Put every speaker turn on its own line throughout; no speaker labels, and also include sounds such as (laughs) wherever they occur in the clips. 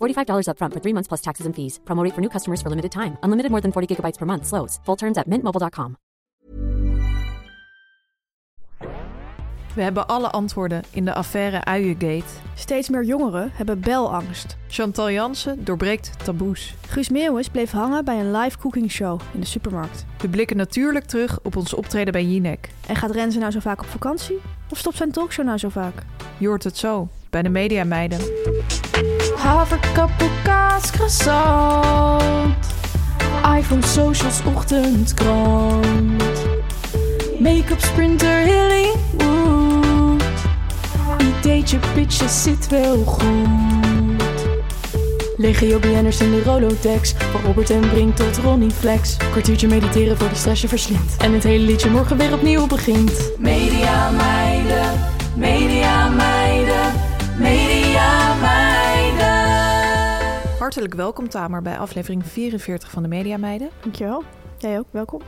$45 upfront for three months plus taxes and fees. Promo rate for new customers for limited time. Unlimited more than 40 gigabytes per month. Slows. Full terms at mintmobile.com.
We hebben alle antwoorden in de affaire Uiengate.
Steeds meer jongeren hebben belangst.
Chantal Jansen doorbreekt taboes.
Guus Meeuwis bleef hangen bij een live cooking show in de supermarkt.
We blikken natuurlijk terug op ons optreden bij Jinek.
En gaat Renze nou zo vaak op vakantie? Of stopt zijn talkshow nou zo vaak?
Je hoort het zo bij de Media Meiden.
Haverkappelkaas, croissant. iPhone, socials, ochtendkrant. Make-up, sprinter, Hollywood. Ideetje, pitje, zit wel goed. Legio BN'ers in de Rolodex. Van Robert en Brink tot Ronnie Flex. Kwartiertje mediteren voor de stress je verslindt. En het hele liedje morgen weer opnieuw begint. Media meiden, media meiden, media meiden.
Hartelijk welkom Tamer bij aflevering 44 van de Media Meiden.
Dankjewel. Jij ook, welkom.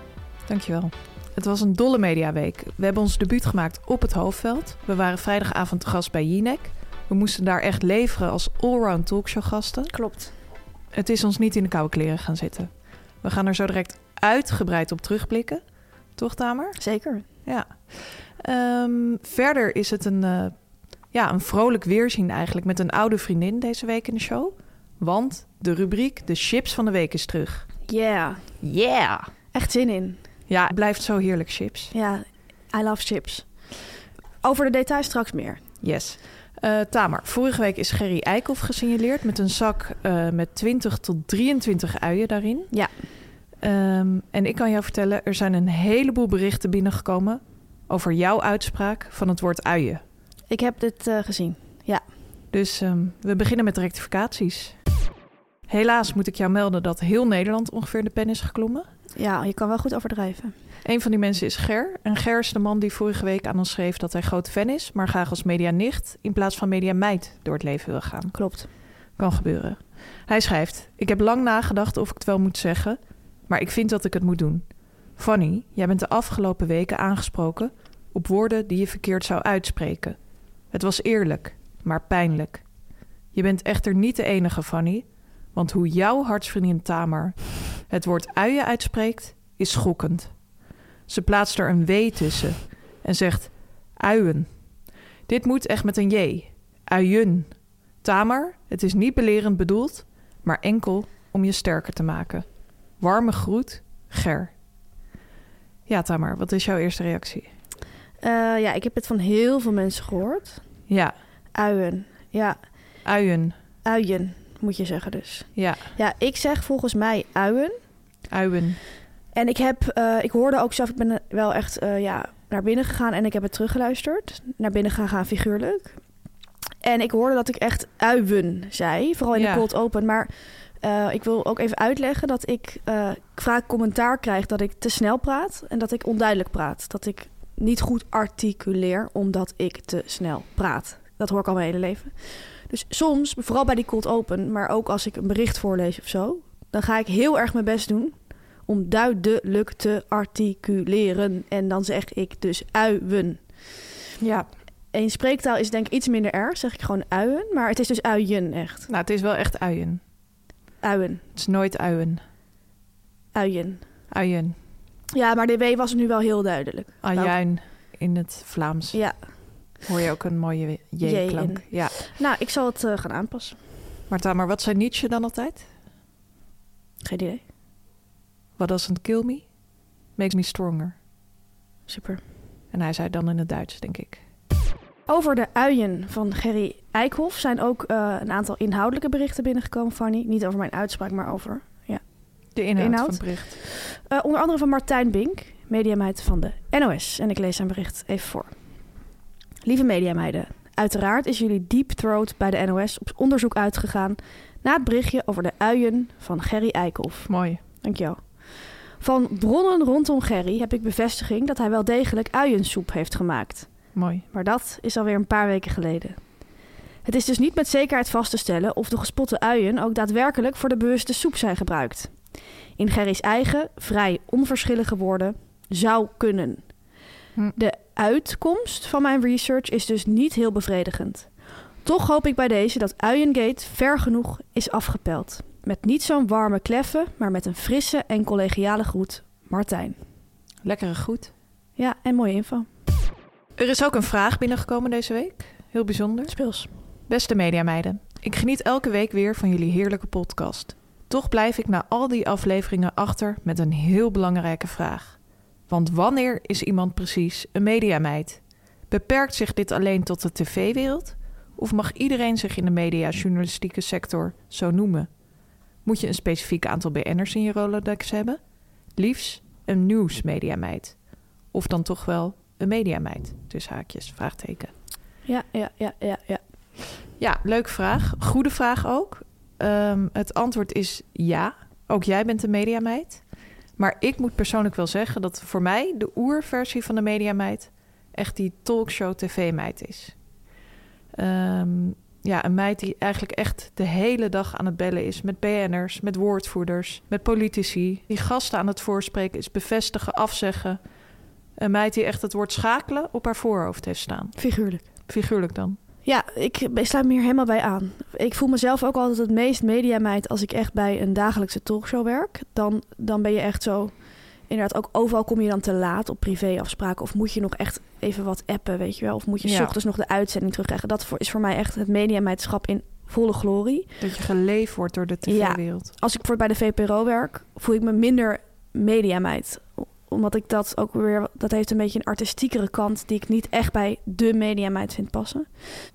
Dankjewel. Het was een dolle mediaweek. We hebben ons debuut gemaakt op het hoofdveld. We waren vrijdagavond te gast bij Jinek. We moesten daar echt leveren als allround talkshowgasten.
Klopt.
Het is ons niet in de koude kleren gaan zitten. We gaan er zo direct uitgebreid op terugblikken. Toch Tamer?
Zeker.
Ja. Ehm, verder is het een, eh, ja, een vrolijk weerzien eigenlijk met een oude vriendin deze week in de show. Want de rubriek De Chips van de Week is terug.
Yeah.
Yeah!
Echt zin in.
Ja, het blijft zo heerlijk chips.
Ja, I love chips. Over de details straks meer.
Yes. Eh, Tamer, vorige week is Gerry Eikhoff gesignaleerd met een zak eh, met 20 tot 23 uien daarin.
Ja.
Ehm, en ik kan jou vertellen, er zijn een heleboel berichten binnengekomen over jouw uitspraak van het woord uien.
Ik heb dit eh, gezien.
Dus ehm, we beginnen met de rectificaties. Helaas moet ik jou melden dat heel Nederland ongeveer in de pen is geklommen.
Ja, je kan wel goed overdrijven.
Een van die mensen is Ger. En Ger is de man die vorige week aan ons schreef dat hij groot fan is, maar graag als medianicht in plaats van mediameid door het leven wil gaan.
Klopt.
Kan gebeuren. Hij schrijft: Ik heb lang nagedacht of ik het wel moet zeggen, maar ik vind dat ik het moet doen. Fanny, jij bent de afgelopen weken aangesproken op woorden die je verkeerd zou uitspreken. Het was eerlijk, maar pijnlijk. Je bent echter niet de enige, Fanny, want hoe jouw hartsvriendin Tamer het woord uien uitspreekt, is schokkend. Ze plaatst er een W tussen en zegt uien. Dit moet echt met een J. Uien. Tamer, het is niet belerend bedoeld, maar enkel om je sterker te maken. Warme groet, Ger. Ja, Tamer, wat is jouw eerste reactie?
Eh, ja, ik heb het van heel veel mensen gehoord.
Ja,
Uien. Ja,
uien.
uien moet je zeggen dus.
Ja,
Ja, ik zeg volgens mij uien.
uien.
En ik heb, eh, ik hoorde ook zelf, ik ben wel echt eh, ja, naar binnen gegaan en ik heb het teruggeluisterd. Naar binnen gaan gaan figuurlijk. En ik hoorde dat ik echt uien zei, vooral in
Ja.
de cold open. Maar eh, ik wil ook even uitleggen dat ik eh, vaak commentaar krijg dat ik te snel praat en dat ik onduidelijk praat. Dat ik niet goed articuleer omdat ik te snel praat. Dat hoor ik al mijn hele leven. Dus soms, vooral bij die cold open, maar ook als ik een bericht voorlees of zo, dan ga ik heel erg mijn best doen om duidelijk te articuleren. En dan zeg ik dus uien.
Ja,
In spreektaal is het denk ik iets minder erg, zeg ik gewoon uien. Maar het is dus uien echt.
nou, het is wel echt uien.
Uien.
Het is nooit uien.
Uien.
Uien.
Ja, maar de W was nu wel heel duidelijk.
Ajuin in het Vlaams.
Ja.
Hoor je ook een mooie
J
J-klank.
in.
Ja.
Nou, ik zal het eh, gaan aanpassen.
Maar Tamer, wat zei Nietzsche dan altijd?
Geen idee.
What doesn't kill me, makes me stronger.
Super.
En hij zei dan in het Duits, denk ik.
Over de uien van Gerry Eikhoff zijn ook eh, een aantal inhoudelijke berichten binnengekomen, Fanny. Niet over mijn uitspraak, maar over.
De inhoud,
Inhoud?
van het bericht.
eh, onder andere van Martijn Bink, mediameid van de NOS. En ik lees zijn bericht even voor. Lieve mediameiden, uiteraard is jullie deep throat bij de NOS op onderzoek uitgegaan na het berichtje over de uien van Gerry Eikhoff.
Mooi.
Dankjewel. Van bronnen rondom Gerry heb ik bevestiging dat hij wel degelijk uiensoep heeft gemaakt.
Mooi.
Maar dat is alweer een paar weken geleden. Het is dus niet met zekerheid vast te stellen of de gespotte uien ook daadwerkelijk voor de bewuste soep zijn gebruikt. In Gerry's eigen, vrij onverschillige woorden, zou kunnen.
Hm.
De uitkomst van mijn research is dus niet heel bevredigend. Toch hoop ik bij deze dat Uiengate ver genoeg is afgepeld. Met niet zo'n warme kleffen, maar met een frisse en collegiale groet, Martijn.
Lekkere goed.
Ja, en mooie info.
Er is ook een vraag binnengekomen deze week. Heel bijzonder.
Speels.
Beste mediameiden, ik geniet elke week weer van jullie heerlijke podcast. Toch blijf ik na al die afleveringen achter met een heel belangrijke vraag. Want wanneer is iemand precies een mediameid? Beperkt zich dit alleen tot de tv-wereld? Of mag iedereen zich in de media-journalistieke sector zo noemen? Moet je een specifiek aantal BN'ers in je Rolodex hebben? Liefst een nieuwsmediameid. Of dan toch wel een mediameid, tussen haakjes, vraagteken.
Ja, ja, ja, ja, ja.
Ja, leuke vraag. Goede vraag ook. Ehm, het antwoord is ja. Ook jij bent een mediameid. Maar ik moet persoonlijk wel zeggen dat voor mij de oerversie van de mediameid echt die talkshow tv-meid is. Ehm, ja, een meid die eigenlijk echt de hele dag aan het bellen is met BN'ers, met woordvoerders, met politici. Die gasten aan het voorspreken is bevestigen, afzeggen. Een meid die echt het woord schakelen op haar voorhoofd heeft staan.
Figuurlijk.
Figuurlijk dan.
Ja, ik sluit me hier helemaal bij aan. Ik voel mezelf ook altijd het meest mediameid als ik echt bij een dagelijkse talkshow werk. Dan, dan ben je echt zo... Inderdaad, ook overal kom je dan te laat op privéafspraken. Of moet je nog echt even wat appen, weet je wel. Of moet je s
Ja.
ochtends nog de uitzending terugkrijgen. Dat voor, is voor mij echt het mediameidschap in volle glorie.
Dat je geleefd wordt door de tv-wereld.
Als ik voor bij de VPRO werk, voel ik me minder mediameid. Omdat ik dat ook weer... Dat heeft een beetje een artistiekere kant... die ik niet echt bij de mediameid vind passen.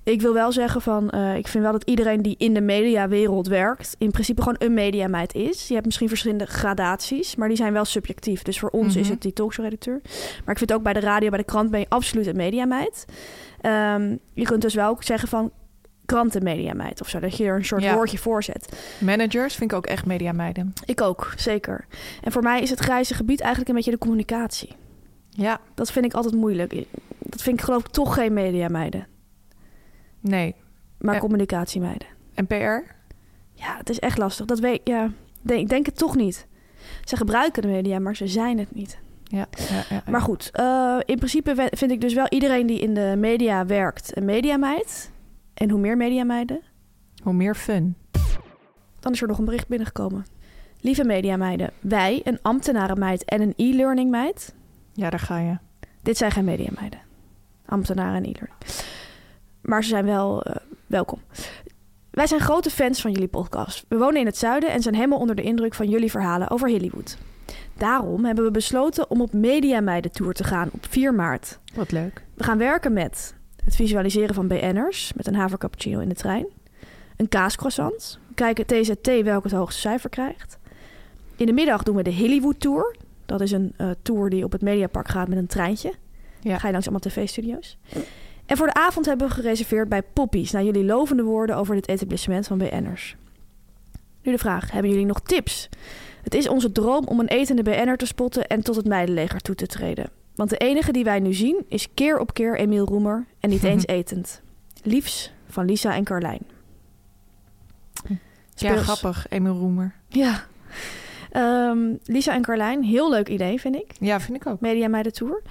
Ik wil wel zeggen van... eh, ik vind wel dat iedereen die in de mediawereld werkt... in principe gewoon een mediameid is. Je hebt misschien verschillende gradaties... maar die zijn wel subjectief. Dus voor ons is
Mhm.
het die talkshow-redacteur. Maar ik vind ook bij de radio, bij de krant... ben je absoluut een mediameid. Ehm, je kunt dus wel ook zeggen van... krantenmediameid of zo. Dat je er een soort
Ja.
woordje voor zet.
Managers vind ik ook echt mediameiden.
Ik ook, zeker. En voor mij is het grijze gebied eigenlijk een beetje de communicatie.
Ja,
Dat vind ik altijd moeilijk. Dat vind ik geloof ik toch geen mediameiden,
nee.
maar
Ja.
communicatiemeiden.
En PR?
Ja, het is echt lastig. Dat weet ja, nee, ik denk het toch niet. Ze gebruiken de media, maar ze zijn het niet.
Ja. ja, ja, ja.
Maar goed, eh, in principe we- vind ik dus wel iedereen die in de media werkt een mediameid. En hoe meer mediameiden,
Hoe meer fun.
Dan is er nog een bericht binnengekomen. Lieve mediameiden, wij, een ambtenarenmeid en een e-learning meid,
Ja, daar ga je.
Dit zijn geen mediameiden. Ambtenaren en ieder. Maar ze zijn wel eh, welkom. Wij zijn grote fans van jullie podcast. We wonen in het zuiden en zijn helemaal onder de indruk van jullie verhalen over Hollywood. Daarom hebben we besloten om op Mediameiden Tour te gaan op 4 maart.
Wat leuk.
We gaan werken met het visualiseren van BN'ers met een havercappuccino in de trein. Een kaascroissant. We kijken TZT welke het hoogste cijfer krijgt. In de middag doen we de Hollywood Tour. Dat is een eh, tour die op het Mediapark gaat met een treintje.
Ja.
Ga je langs allemaal tv-studio's. En voor de avond hebben we gereserveerd bij Poppies... naar jullie lovende woorden over dit etablissement van BN'ers. Nu de vraag, hebben jullie nog tips? Het is onze droom om een etende BN'er te spotten... en tot het meidenleger toe te treden. Want de enige die wij nu zien is keer op keer Emiel Roemer... en niet
(laughs)
eens etend. Liefs van Lisa en Carlijn.
Ja,
Speels.
grappig. Emil Roemer.
Ja. Ehm, Lisa en Carlijn, heel leuk idee vind ik.
Ja, vind ik ook.
Media Meiden Tour. Eh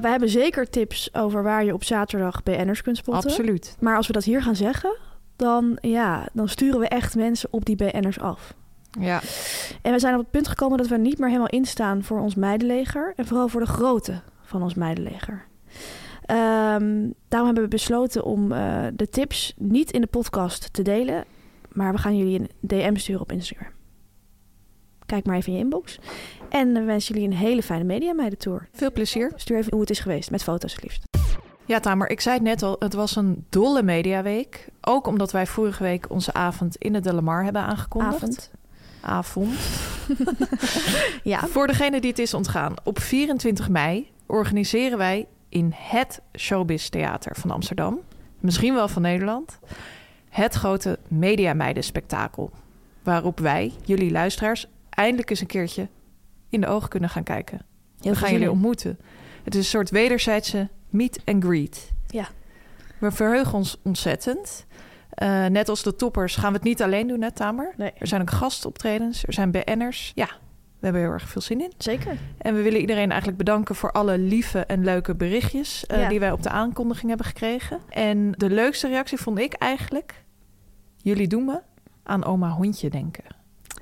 wij hebben zeker tips over waar je op zaterdag BN'ers kunt spotten.
Absoluut.
Maar als we dat hier gaan zeggen, dan, ja, dan sturen we echt mensen op die BN'ers af.
Ja.
En we zijn op het punt gekomen dat we niet meer helemaal instaan voor ons meidenleger. En vooral voor de grootte van ons meidenleger. Ehm, daarom hebben we besloten om eh, de tips niet in de podcast te delen. Maar we gaan jullie een DM sturen op Instagram. Kijk maar even in je inbox. En we wensen jullie een hele fijne media meidentour.
Veel plezier.
Stuur even hoe het is geweest, met foto's het liefst.
Ja, Tamer, ik zei het net al, het was een dolle mediaweek. Ook omdat wij vorige week onze avond in het Delamar hebben aangekondigd.
Avond.
Avond.
Ja,
Voor degene die het is ontgaan, op 24 mei organiseren wij in het Showbiz Theater van Amsterdam, misschien wel van Nederland, het grote Media Meiden Spektakel. Waarop wij, jullie luisteraars, eindelijk eens een keertje in de ogen kunnen gaan kijken.
heel
We gaan jullie
veel zin in.
ontmoeten. Het is een soort wederzijdse meet and greet.
Ja.
We verheugen ons ontzettend. Eh, net als de toppers gaan we het niet alleen doen, hè Tamer?
Nee.
Er zijn ook gastoptredens, er zijn BN'ers. Ja, we hebben heel erg veel zin in.
Zeker.
En we willen iedereen eigenlijk bedanken voor alle lieve en leuke berichtjes eh,
Ja.
die wij op de aankondiging hebben gekregen. En de leukste reactie vond ik eigenlijk: jullie doen me aan oma hondje denken.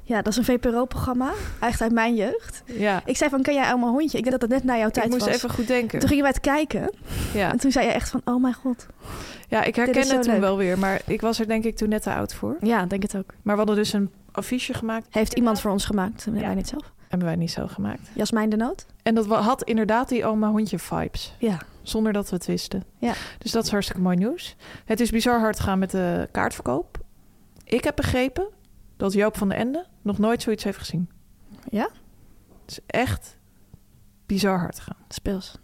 Ja, dat is een VPRO-programma. Eigenlijk uit mijn jeugd.
Ja,
Ik zei van, ken jij allemaal hondje? Ik denk dat dat net na jouw tijd
ik moest
was.
even goed
Toen
denken.
gingen wij het kijken.
Ja.
En toen zei je echt van, oh mijn god.
ja, ik
is
herkende
zo
het toen
leuk.
wel weer, maar ik was er denk ik toen net te oud voor.
Ja, denk het ook.
Maar we hadden dus een affiche gemaakt,
Heeft iemand voor ons gemaakt? Dat hebben wij niet zelf.
hebben wij niet zo gemaakt.
Jasmijn de Noot?
En dat wa- had inderdaad die oma hondje vibes.
Ja.
Zonder dat we het wisten.
Ja.
Dus dat is hartstikke mooi nieuws. Het is bizar hard gaan met de kaartverkoop. Ik heb begrepen dat Joop van den Ende nog nooit zoiets heeft gezien.
Ja?
Het is echt bizar hard gaan.
Speels.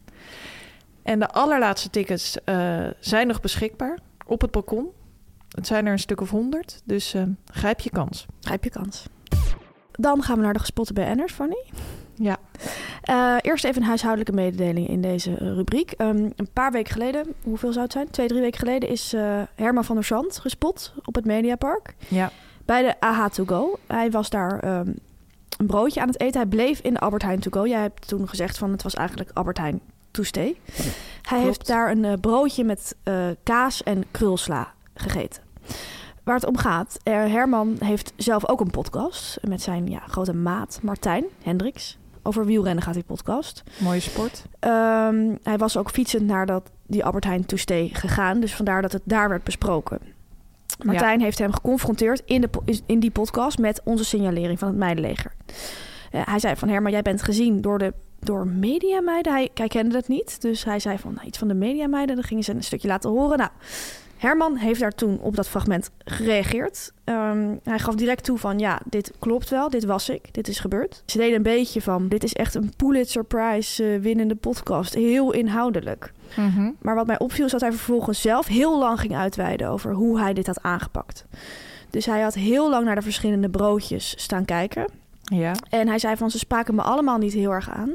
En de allerlaatste tickets eh, zijn nog beschikbaar op het balkon. Het zijn er een stuk of honderd, dus eh, grijp je kans.
Grijp je kans. Dan gaan we naar de gespotte BN'ers, Fanny.
Ja.
Eh, eerst even een huishoudelijke mededeling in deze eh, rubriek. Ehm, een paar weken geleden, hoeveel zou het zijn? Twee, drie weken geleden is eh, Herman van der Zand gespot op het Mediapark.
Ja.
Bij de AH To Go. Hij was daar ehm, een broodje aan het eten. Hij bleef in de Albert Heijn To Go. Jij hebt toen gezegd van het was eigenlijk Albert Heijn To Stay. Hij heeft daar een eh, broodje met eh, kaas en krulsla gegeten. Waar het om gaat, eh, Herman heeft zelf ook een podcast met zijn ja, grote maat Martijn Hendricks. Over wielrennen gaat die podcast.
Mooie sport.
Ehm, hij was ook fietsend naar dat, die Albert Heijn toestee gegaan. Dus vandaar dat het daar werd besproken. Martijn heeft hem geconfronteerd in, de, po- is- in die podcast met onze signalering van het meidenleger. Eh, hij zei van Herman, jij bent gezien door de door mediameiden. Hij, hij kende dat niet, dus hij zei van nou, iets van de mediameiden. Dan gingen ze een stukje laten horen. Nou, Herman heeft daar toen op dat fragment gereageerd. Ehm, hij gaf direct toe van ja, dit klopt wel, dit was ik, dit is gebeurd. Ze deden een beetje van dit is echt een Pulitzer Prize eh, winnende podcast, heel inhoudelijk. Maar wat mij opviel is dat hij vervolgens zelf heel lang ging uitweiden over hoe hij dit had aangepakt. Dus hij had heel lang naar de verschillende broodjes staan kijken.
Ja.
En hij zei van ze spraken me allemaal niet heel erg aan.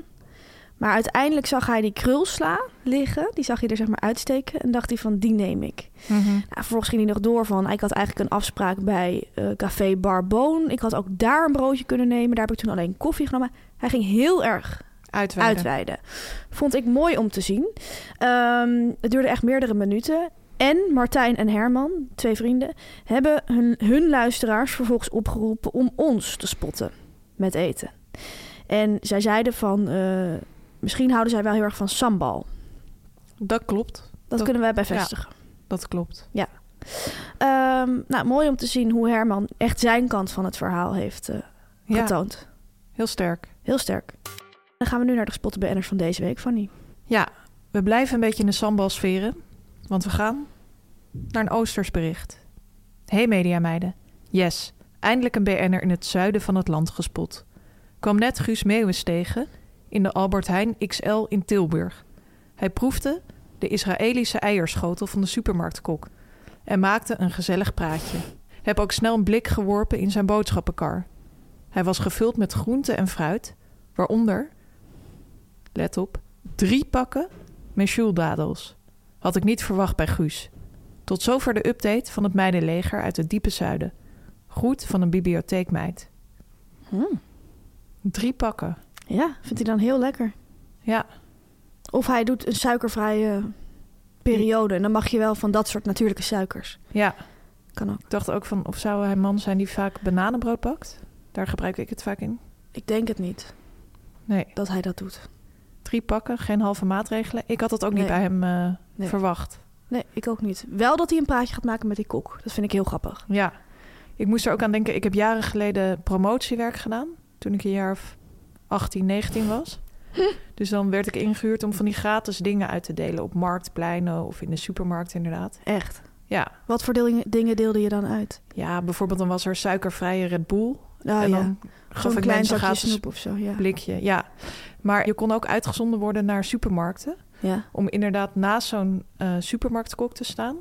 Maar uiteindelijk zag hij die krulsla liggen. Die zag hij er zeg maar uitsteken. En dacht hij van die neem ik. Nou, vervolgens ging hij nog door van ik had eigenlijk een afspraak bij eh, Café Barboon. Ik had ook daar een broodje kunnen nemen. Daar heb ik toen alleen koffie genomen. Hij ging heel erg
Uitweiden.
uitweiden. Vond ik mooi om te zien. Ehm, het duurde echt meerdere minuten. En Martijn en Herman, twee vrienden, hebben hun, hun luisteraars vervolgens opgeroepen om ons te spotten met eten. En zij zeiden van, eh, misschien houden zij wel heel erg van sambal.
Dat klopt.
Dat,
Dat-
kunnen wij bevestigen.
Dat klopt.
Ehm, nou, mooi om te zien hoe Herman echt zijn kant van het verhaal heeft eh,
Ja,
getoond.
heel sterk.
Heel sterk. Dan gaan we nu naar de gespotte BN'ers van deze week, Fanny.
Ja, we blijven een beetje in de sambalsferen, want we gaan naar een Oostersbericht. Hey mediameiden. Yes, eindelijk een BN'er in het zuiden van het land gespot. Kwam net Guus Meeuwis tegen in de Albert Heijn XL in Tilburg. Hij proefde de Israëlische eierschotel van de supermarktkok en maakte een gezellig praatje. Heb ook snel een blik geworpen in zijn boodschappenkar. Hij was gevuld met groenten en fruit, waaronder, let op, Drie pakken mesjuldadels. Had ik niet verwacht bij Guus. Tot zover de update van het meidenleger uit het diepe zuiden. Groet van een bibliotheekmeid.
Hmm.
Drie pakken.
Ja, vindt hij dan heel lekker.
Ja,
Of hij doet een suikervrije periode. En dan mag je wel van dat soort natuurlijke suikers.
ja.
Kan ook.
Ik dacht ook van, of zou hij een man zijn die vaak bananenbrood pakt? Daar gebruik ik het vaak in.
Ik denk het niet
Nee,
dat hij dat doet.
drie pakken, geen halve maatregelen. Ik had dat ook niet
Nee.
bij hem eh,
Nee.
verwacht.
Nee, ik ook niet. Wel dat hij een praatje gaat maken met die kok. Dat vind ik heel grappig.
Ja, ik moest er ook aan denken. Ik heb jaren geleden promotiewerk gedaan. Toen ik een jaar of 18, 19
(laughs)
was. dus dan werd ik ingehuurd om van die gratis dingen uit te delen. Op marktpleinen of in de supermarkt inderdaad.
Echt.
Ja,
Wat voor dingen- dingen deelde je dan uit?
ja bijvoorbeeld dan was er suikervrije Red Bull.
Nou
en
ja,
dan gaf
zo'n
ik
klein
mensen
zakje
gratis
snoep of zo. Ja.
blikje. Ja, maar je kon ook uitgezonden worden naar supermarkten.
ja.
om inderdaad naast zo'n eh, supermarktkok te staan.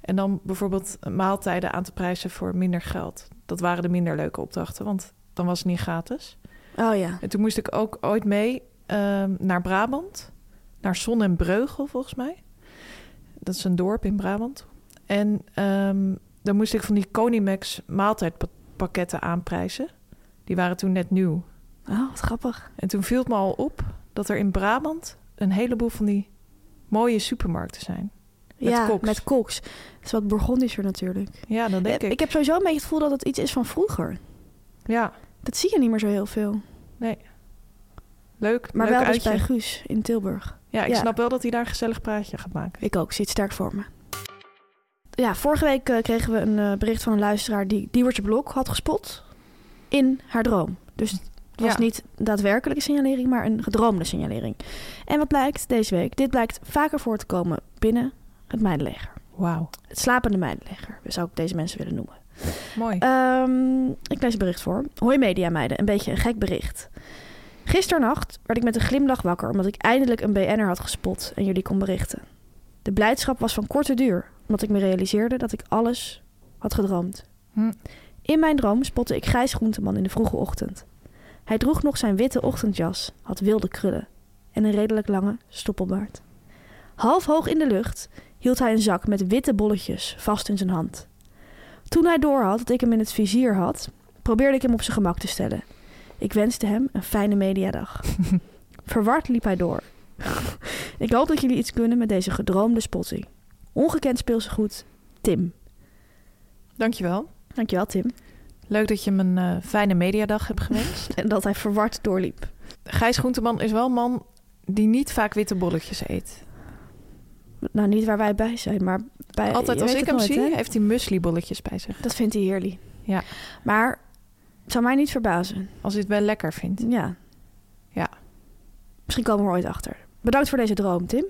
En dan bijvoorbeeld eh, maaltijden aan te prijzen voor minder geld. Dat waren de minder leuke opdrachten, want dan was het niet gratis.
Oh ja.
En toen moest ik ook ooit mee ehm, naar Brabant. Naar Zon en Breugel, volgens mij. Dat is een dorp in Brabant. En ehm, dan moest ik van die Conimax maaltijdpakketten aanprijzen. Die waren toen net nieuw.
Oh, wat grappig.
En toen viel het me al op dat er in Brabant een heleboel van die mooie supermarkten zijn. Met
ja,
koks.
met koks. Het is wat Burgondischer natuurlijk.
Ja, dat denk ik.
Eh, Ik heb sowieso een beetje het gevoel dat het iets is van vroeger.
Ja,
Dat zie je niet meer zo heel veel.
leuk.
Maar
leuk
wel dus
uitje.
bij Guus in Tilburg.
Ja, ik
ja.
snap wel dat hij daar een gezellig praatje gaat maken.
Ik ook, zit sterk voor me. Ja, vorige week eh, kregen we een eh, bericht van een luisteraar die Diewertje Blok had gespot in haar droom. Dus het was
Ja.
niet daadwerkelijke signalering, maar een gedroomde signalering. En wat blijkt deze week? Dit blijkt vaker voor te komen binnen het meidenleger.
Wauw,
Het slapende meidenleger, zou ik deze mensen willen noemen.
mooi.
Ehm, ik lees het bericht voor. Hoi media meiden, een beetje een gek bericht. Gisternacht werd ik met een glimlach wakker omdat ik eindelijk een BN'er had gespot en jullie kon berichten. De blijdschap was van korte duur, omdat ik me realiseerde dat ik alles had gedroomd.
Hm.
In mijn droom spotte ik Gijs Groenteman in de vroege ochtend. Hij droeg nog zijn witte ochtendjas, had wilde krullen en een redelijk lange stoppelbaard. Half hoog in de lucht hield hij een zak met witte bolletjes vast in zijn hand. Toen hij doorhad dat ik hem in het vizier had, probeerde ik hem op zijn gemak te stellen. Ik wenste hem een fijne
(laughs)
mediadag. Verward liep hij door. ik hoop dat jullie iets kunnen met deze gedroomde spotting. Ongekend speelse goed, Tim.
Dankjewel.
Dankjewel, Tim.
Leuk dat je hem een eh, fijne mediadag hebt (laughs) gewenst.
En dat hij verward doorliep.
Gijs Groenteman is wel een man die niet vaak witte bolletjes eet.
Nou, niet waar wij bij zijn, maar bij.
Altijd
Eh, je
als
weet
ik hem
het nooit,
zie,
hè?
heeft hij mueslibolletjes bij zich.
Dat vindt hij heerlijk.
Ja.
Maar het zou mij niet verbazen.
Als hij het wel lekker vindt.
Ja.
Ja.
Misschien komen we er ooit achter. Bedankt voor deze droom, Tim.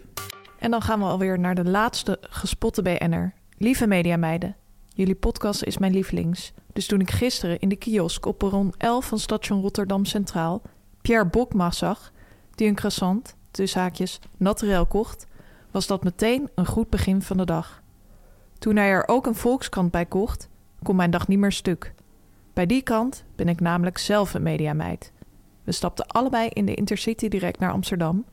En dan gaan we alweer naar de laatste gespotte BN'er. Lieve mediameiden, jullie podcast is mijn lievelings. Dus toen ik gisteren in de kiosk op perron 11 van station Rotterdam Centraal... Pierre Bokma zag, die een croissant, tussen haakjes, naturel kocht... was dat meteen een goed begin van de dag. Toen hij er ook een volkskrant bij kocht, kon mijn dag niet meer stuk. Bij die krant ben ik namelijk zelf een mediameid. We stapten allebei in de Intercity direct naar Amsterdam...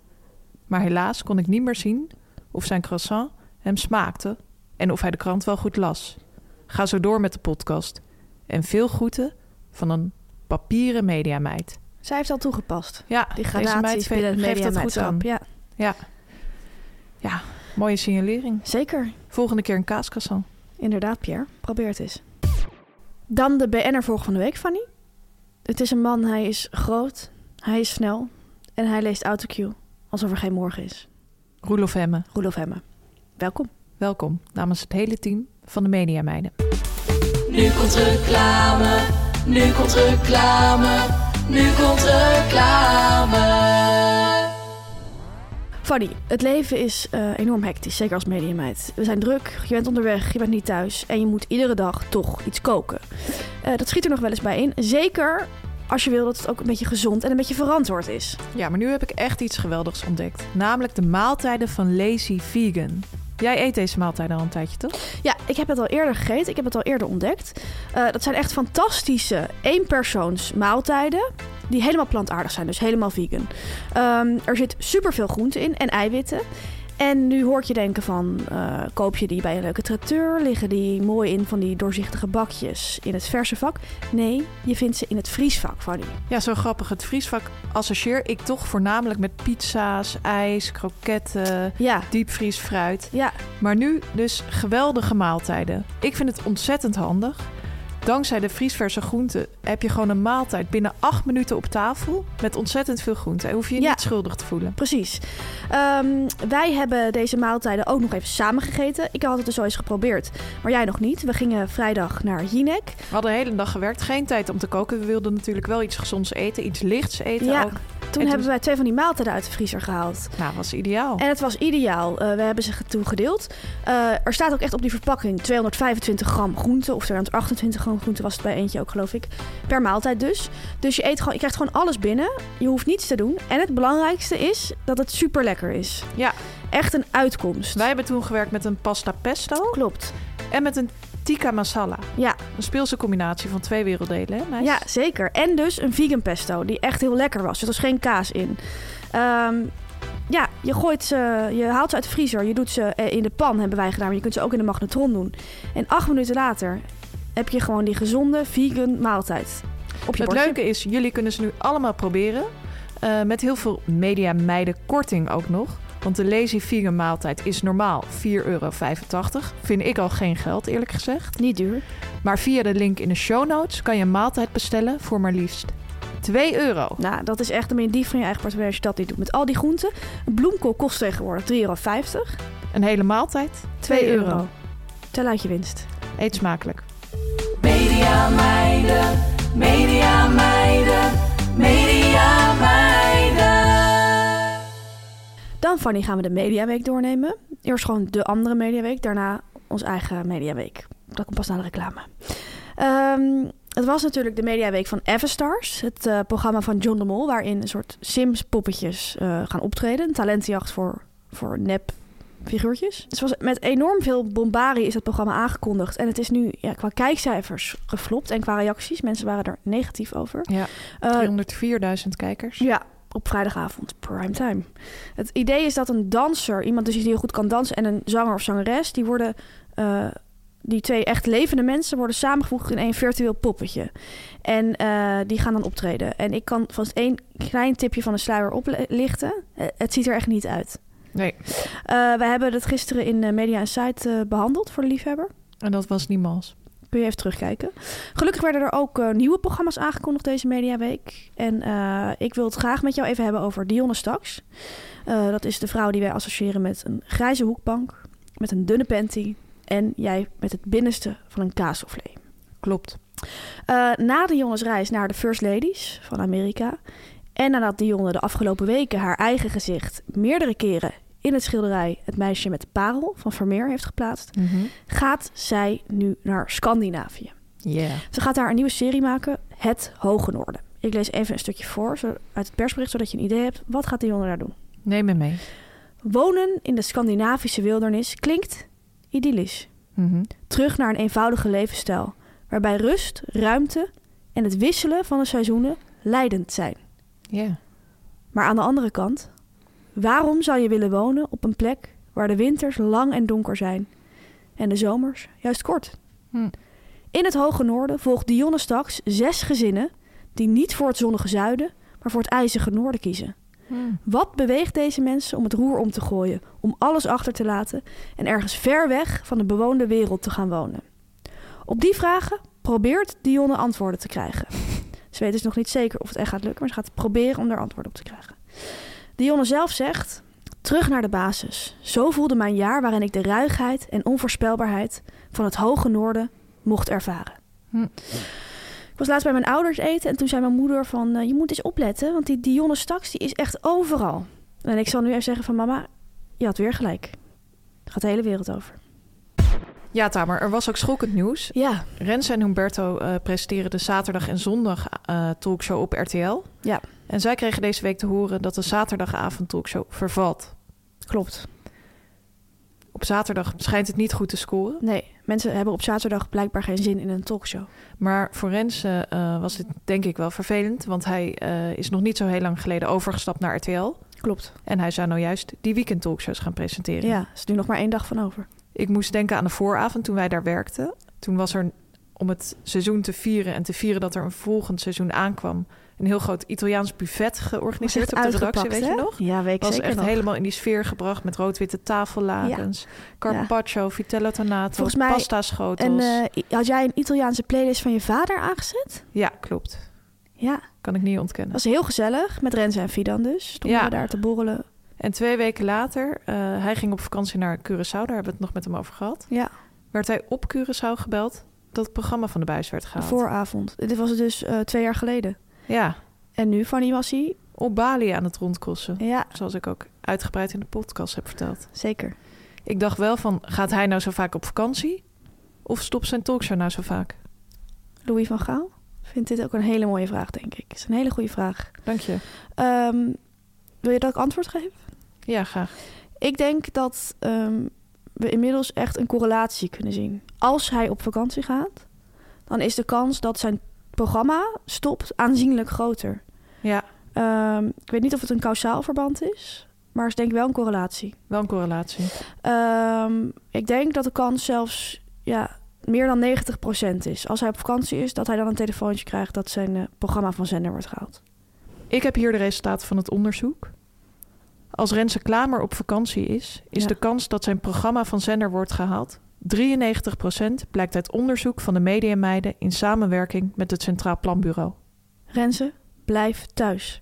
Maar helaas kon ik niet meer zien of zijn croissant hem smaakte en of hij de krant wel goed las. Ga zo door met de podcast. En veel groeten van een papieren mediameid.
Zij heeft al toegepast.
Ja,
Die
deze meid
gradaties binnen het
geeft dat goed aan.
mediameidschap. Ja,
Mooie signalering.
zeker.
Volgende keer een kaascroissant.
Inderdaad, Pierre. Probeer het eens. Dan de BN'er volgende week, Fanny. Het is een man, hij is groot, hij is snel en hij leest autocue alsof er geen morgen is.
Roelof Hemme,
Roelof Hemme, welkom.
welkom namens het hele team van de Mediameiden.
Nu komt reclame, nu komt reclame, nu komt reclame.
Fanny, het leven is eh, enorm hectisch, zeker als mediameid. We zijn druk, je bent onderweg, je bent niet thuis en je moet iedere dag toch iets koken. Eh, dat schiet er nog wel eens bij in, zeker als je wil dat het ook een beetje gezond en een beetje verantwoord is.
Ja, maar nu heb ik echt iets geweldigs ontdekt. Namelijk de maaltijden van Lazy Vegan. Jij eet deze maaltijden al een tijdje, toch?
Ja, ik heb het al eerder gegeten. Ik heb het al eerder ontdekt. Eh, dat zijn echt fantastische eenpersoons maaltijden. Die helemaal plantaardig zijn, dus helemaal vegan. Ehm, er zit superveel groente in en eiwitten. En nu hoor ik je denken van, eh, koop je die bij een leuke tracteur? Liggen die mooi in van die doorzichtige bakjes in het verse vak? Nee, je vindt ze in het vriesvak, Fanny.
Ja, zo grappig. Het vriesvak associeer ik toch voornamelijk met pizza's, ijs, kroketten,
Ja,
diepvriesfruit.
ja,
Maar nu dus geweldige maaltijden. Ik vind het ontzettend handig. Dankzij de vriesverse groenten heb je gewoon een maaltijd binnen acht minuten op tafel met ontzettend veel groenten. En hoef je je
Ja.
niet schuldig te voelen.
Precies. Ehm, wij hebben deze maaltijden ook nog even samen gegeten. Ik had het dus al eens geprobeerd, maar jij nog niet. We gingen vrijdag naar Jinek.
We hadden de hele dag gewerkt, geen tijd om te koken. We wilden natuurlijk wel iets gezonds eten, iets lichts eten
Ja.
ook.
Toen
En
hebben wij twee van die maaltijden uit de vriezer gehaald.
Nou, was ideaal.
En het was ideaal. Eh, we hebben ze ge- toen gedeeld. Eh, er staat ook echt op die verpakking 225 gram groente. Of 228 gram groente was het bij eentje ook, geloof ik. Per maaltijd dus. Dus je, eet gewoon, je krijgt gewoon alles binnen. Je hoeft niets te doen. En het belangrijkste is dat het super lekker is.
Ja.
Echt een uitkomst.
Wij hebben toen gewerkt met een pasta pesto
Klopt.
en met een tikka masala.
Ja,
Een speelse combinatie van twee werelddelen, hè? meis?
ja, zeker. En dus een vegan pesto, die echt heel lekker was. Er was geen kaas in. Ehm, ja, je gooit ze, je haalt ze uit de vriezer, je doet ze eh, in de pan, hebben wij gedaan. Maar je kunt ze ook in de magnetron doen. En acht minuten later heb je gewoon die gezonde vegan maaltijd op je
Het
bordje.
leuke is, jullie kunnen ze nu allemaal proberen. Eh, met heel veel media meiden korting ook nog. Want de Lazy Vegan maaltijd is normaal 4,85 euro. Vind ik al geen geld, eerlijk gezegd.
Niet duur.
Maar via de link in de show notes kan je een maaltijd bestellen voor maar liefst 2 euro.
Nou, dat is echt een dief van je eigen portemonnee als je dat niet doet. Met al die groenten. Een bloemkool kost tegenwoordig 3,50 euro.
Een hele maaltijd,
2 euro. Tel uit je winst.
Eet smakelijk.
Dan, Fanny, gaan we de Mediaweek doornemen. Eerst gewoon de andere Mediaweek, daarna onze eigen Mediaweek. Dat komt pas na de reclame. Ehm, het was natuurlijk de Mediaweek van Everstars, het eh, programma van John de Mol... waarin een soort Sims-poppetjes eh, gaan optreden. Een talentenjacht voor, voor nep figuurtjes. Dus was met enorm veel bombarie is dat programma aangekondigd. En het is nu ja, qua kijkcijfers geflopt en qua reacties. Mensen waren er negatief over.
Ja, Oh.
Eh,
304.000 kijkers.
ja, op vrijdagavond, primetime. Het idee is dat een danser, iemand dus die heel goed kan dansen... en een zanger of zangeres, die worden... eh, die twee echt levende mensen worden samengevoegd in één virtueel poppetje. En eh, die gaan dan optreden. En ik kan vast één klein tipje van de sluier oplichten. Eh, Het ziet er echt niet uit.
Nee,
Eh, we hebben dat gisteren in eh, Media Insight eh behandeld voor de liefhebber.
en dat was niemals.
Kun je even terugkijken. Gelukkig werden er ook eh, nieuwe programma's aangekondigd deze Mediaweek. En eh, ik wil het graag met jou even hebben over Dionne Staks. Eh, dat is de vrouw die wij associëren met een grijze hoekbank, met een dunne panty en jij met het binnenste van een kaassoufflé.
Klopt.
Eh, na de jongensreis naar de First Ladies van Amerika. En nadat Dionne de afgelopen weken haar eigen gezicht meerdere keren in het schilderij Het meisje met de parel van Vermeer heeft geplaatst, gaat zij nu naar Scandinavië.
Ja.
Ze gaat daar een nieuwe serie maken, Het Hoge Noorden. Ik lees even een stukje voor zo- uit het persbericht, zodat je een idee hebt. Wat gaat Dionne daar doen?
Neem me mee.
Wonen in de Scandinavische wildernis klinkt idyllisch.
Mhm.
Terug naar een eenvoudige levensstijl, waarbij rust, ruimte en het wisselen van de seizoenen leidend zijn.
Ja.
Maar aan de andere kant, waarom zou je willen wonen op een plek waar de winters lang en donker zijn en de zomers juist kort?
Hm.
In het hoge noorden volgt Dionne straks zes gezinnen die niet voor het zonnige zuiden, maar voor het ijzige noorden kiezen. Wat beweegt deze mensen om het roer om te gooien, om alles achter te laten en ergens ver weg van de bewoonde wereld te gaan wonen? Op die vragen probeert Dionne antwoorden te krijgen. Ze weet dus nog niet zeker of het echt gaat lukken, maar ze gaat proberen om daar antwoord op te krijgen. Dionne zelf zegt: Terug naar de basis. Zo voelde mijn jaar waarin ik de ruigheid en onvoorspelbaarheid van het hoge noorden mocht ervaren.
Hm.
Ik was laatst bij mijn ouders eten en toen zei mijn moeder van... eh, je moet eens opletten, want die Dionne Staks die is echt overal. En ik zal nu even zeggen van mama, je had weer gelijk. Daar gaat de hele wereld over.
Ja, Tamer, er was ook schokkend nieuws.
Ja,
Rens en Humberto eh presenteren de zaterdag en zondag eh, talkshow op RTL.
Ja.
En zij kregen deze week te horen dat de zaterdagavond talkshow vervalt.
klopt.
Op zaterdag schijnt het niet goed te scoren.
Nee, mensen hebben op zaterdag blijkbaar geen zin in een talkshow.
Maar voor Rens eh, eh, was dit denk ik wel vervelend. Want hij eh, is nog niet zo heel lang geleden overgestapt naar RTL.
Klopt.
En hij zou nou juist die weekend talkshows gaan presenteren.
Ja, is nu nog maar één dag van over.
Ik moest denken aan de vooravond toen wij daar werkten. Toen was er, om het seizoen te vieren en te vieren dat er een volgend seizoen aankwam, een heel groot Italiaans buffet
Was echt
georganiseerd op de redactie,
uitgepakt,
weet je
hè?
nog?
Ja, weet ik
was
zeker
echt
nog.
helemaal in die sfeer gebracht met rood-witte tafellakens, carpaccio, vitello tonato,
Volgens mij
pasta schotels.
En eh, i- had jij een Italiaanse playlist van je vader aangezet?
ja, klopt.
Ja,
Kan ik niet ontkennen.
was heel gezellig. Met Renze en Fidan dus. Stonden
Ja.
we daar te borrelen.
En twee weken later, eh, hij ging op vakantie naar Curaçao, daar hebben we het nog met hem over gehad.
Ja,
Werd hij op Curaçao gebeld dat het programma van de buis werd
de
gehaald.
vooravond. Dit was dus eh, twee jaar geleden.
Ja,
En nu, Fanny was hij.
op Bali aan het rondkossen.
Ja,
Zoals ik ook uitgebreid in de podcast heb verteld.
zeker.
Ik dacht wel van, gaat hij nou zo vaak op vakantie? Of stopt zijn talkshow nou zo vaak?
Louis van Gaal vindt dit ook een hele mooie vraag, denk ik. is een hele goede vraag.
Dank je.
Ehm, wil je dat ik antwoord geef?
Ja, graag.
Ik denk dat ehm, we inmiddels echt een correlatie kunnen zien. Als hij op vakantie gaat, dan is de kans dat zijn programma stopt aanzienlijk groter.
Ja,
Ehm, ik weet niet of het een kausaal verband is, maar is denk ik wel een correlatie.
wel een correlatie.
Ehm, ik denk dat de kans zelfs ja, meer dan 90% is. Als hij op vakantie is, dat hij dan een telefoontje krijgt dat zijn eh, programma van zender wordt gehaald.
Ik heb hier de resultaten van het onderzoek. Als Renze Klamer op vakantie is, is
Ja.
de kans dat zijn programma van zender wordt gehaald 93% blijkt uit onderzoek van de Mediameiden in samenwerking met het Centraal Planbureau.
Renze, blijf thuis.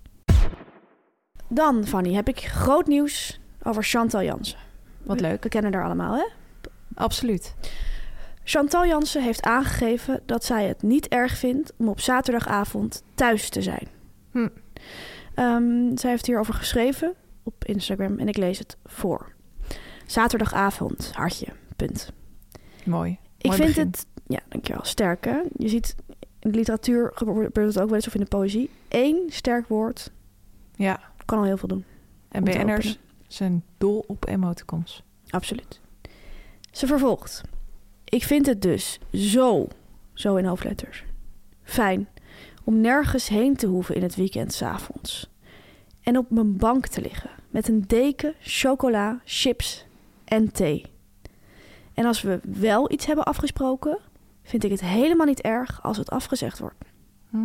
Dan, Fanny, heb ik groot nieuws over Chantal Jansen.
Wat
We-
leuk.
We kennen haar allemaal, hè?
Absoluut.
Chantal Jansen heeft aangegeven dat zij het niet erg vindt om op zaterdagavond thuis te zijn.
Hm.
Ehm, zij heeft hierover geschreven op Instagram en ik lees het voor. Zaterdagavond, hartje, punt.
Mooi.
Ik
Mooi
vind
begin.
het, ja, dankjewel, sterk hè. Je ziet in de literatuur gebeurt het ook wel eens of in de poëzie. Eén sterk woord
Ja,
kan al heel veel doen.
en
om te
BN'ers
openen.
zijn dol op emoticons.
Absoluut. Ze vervolgt. Ik vind het dus zo, zo in hoofdletters, fijn om nergens heen te hoeven in het weekend s'avonds. En op mijn bank te liggen met een deken, chocola, chips en thee. En als we wel iets hebben afgesproken, vind ik het helemaal niet erg als het afgezegd wordt.
Hm.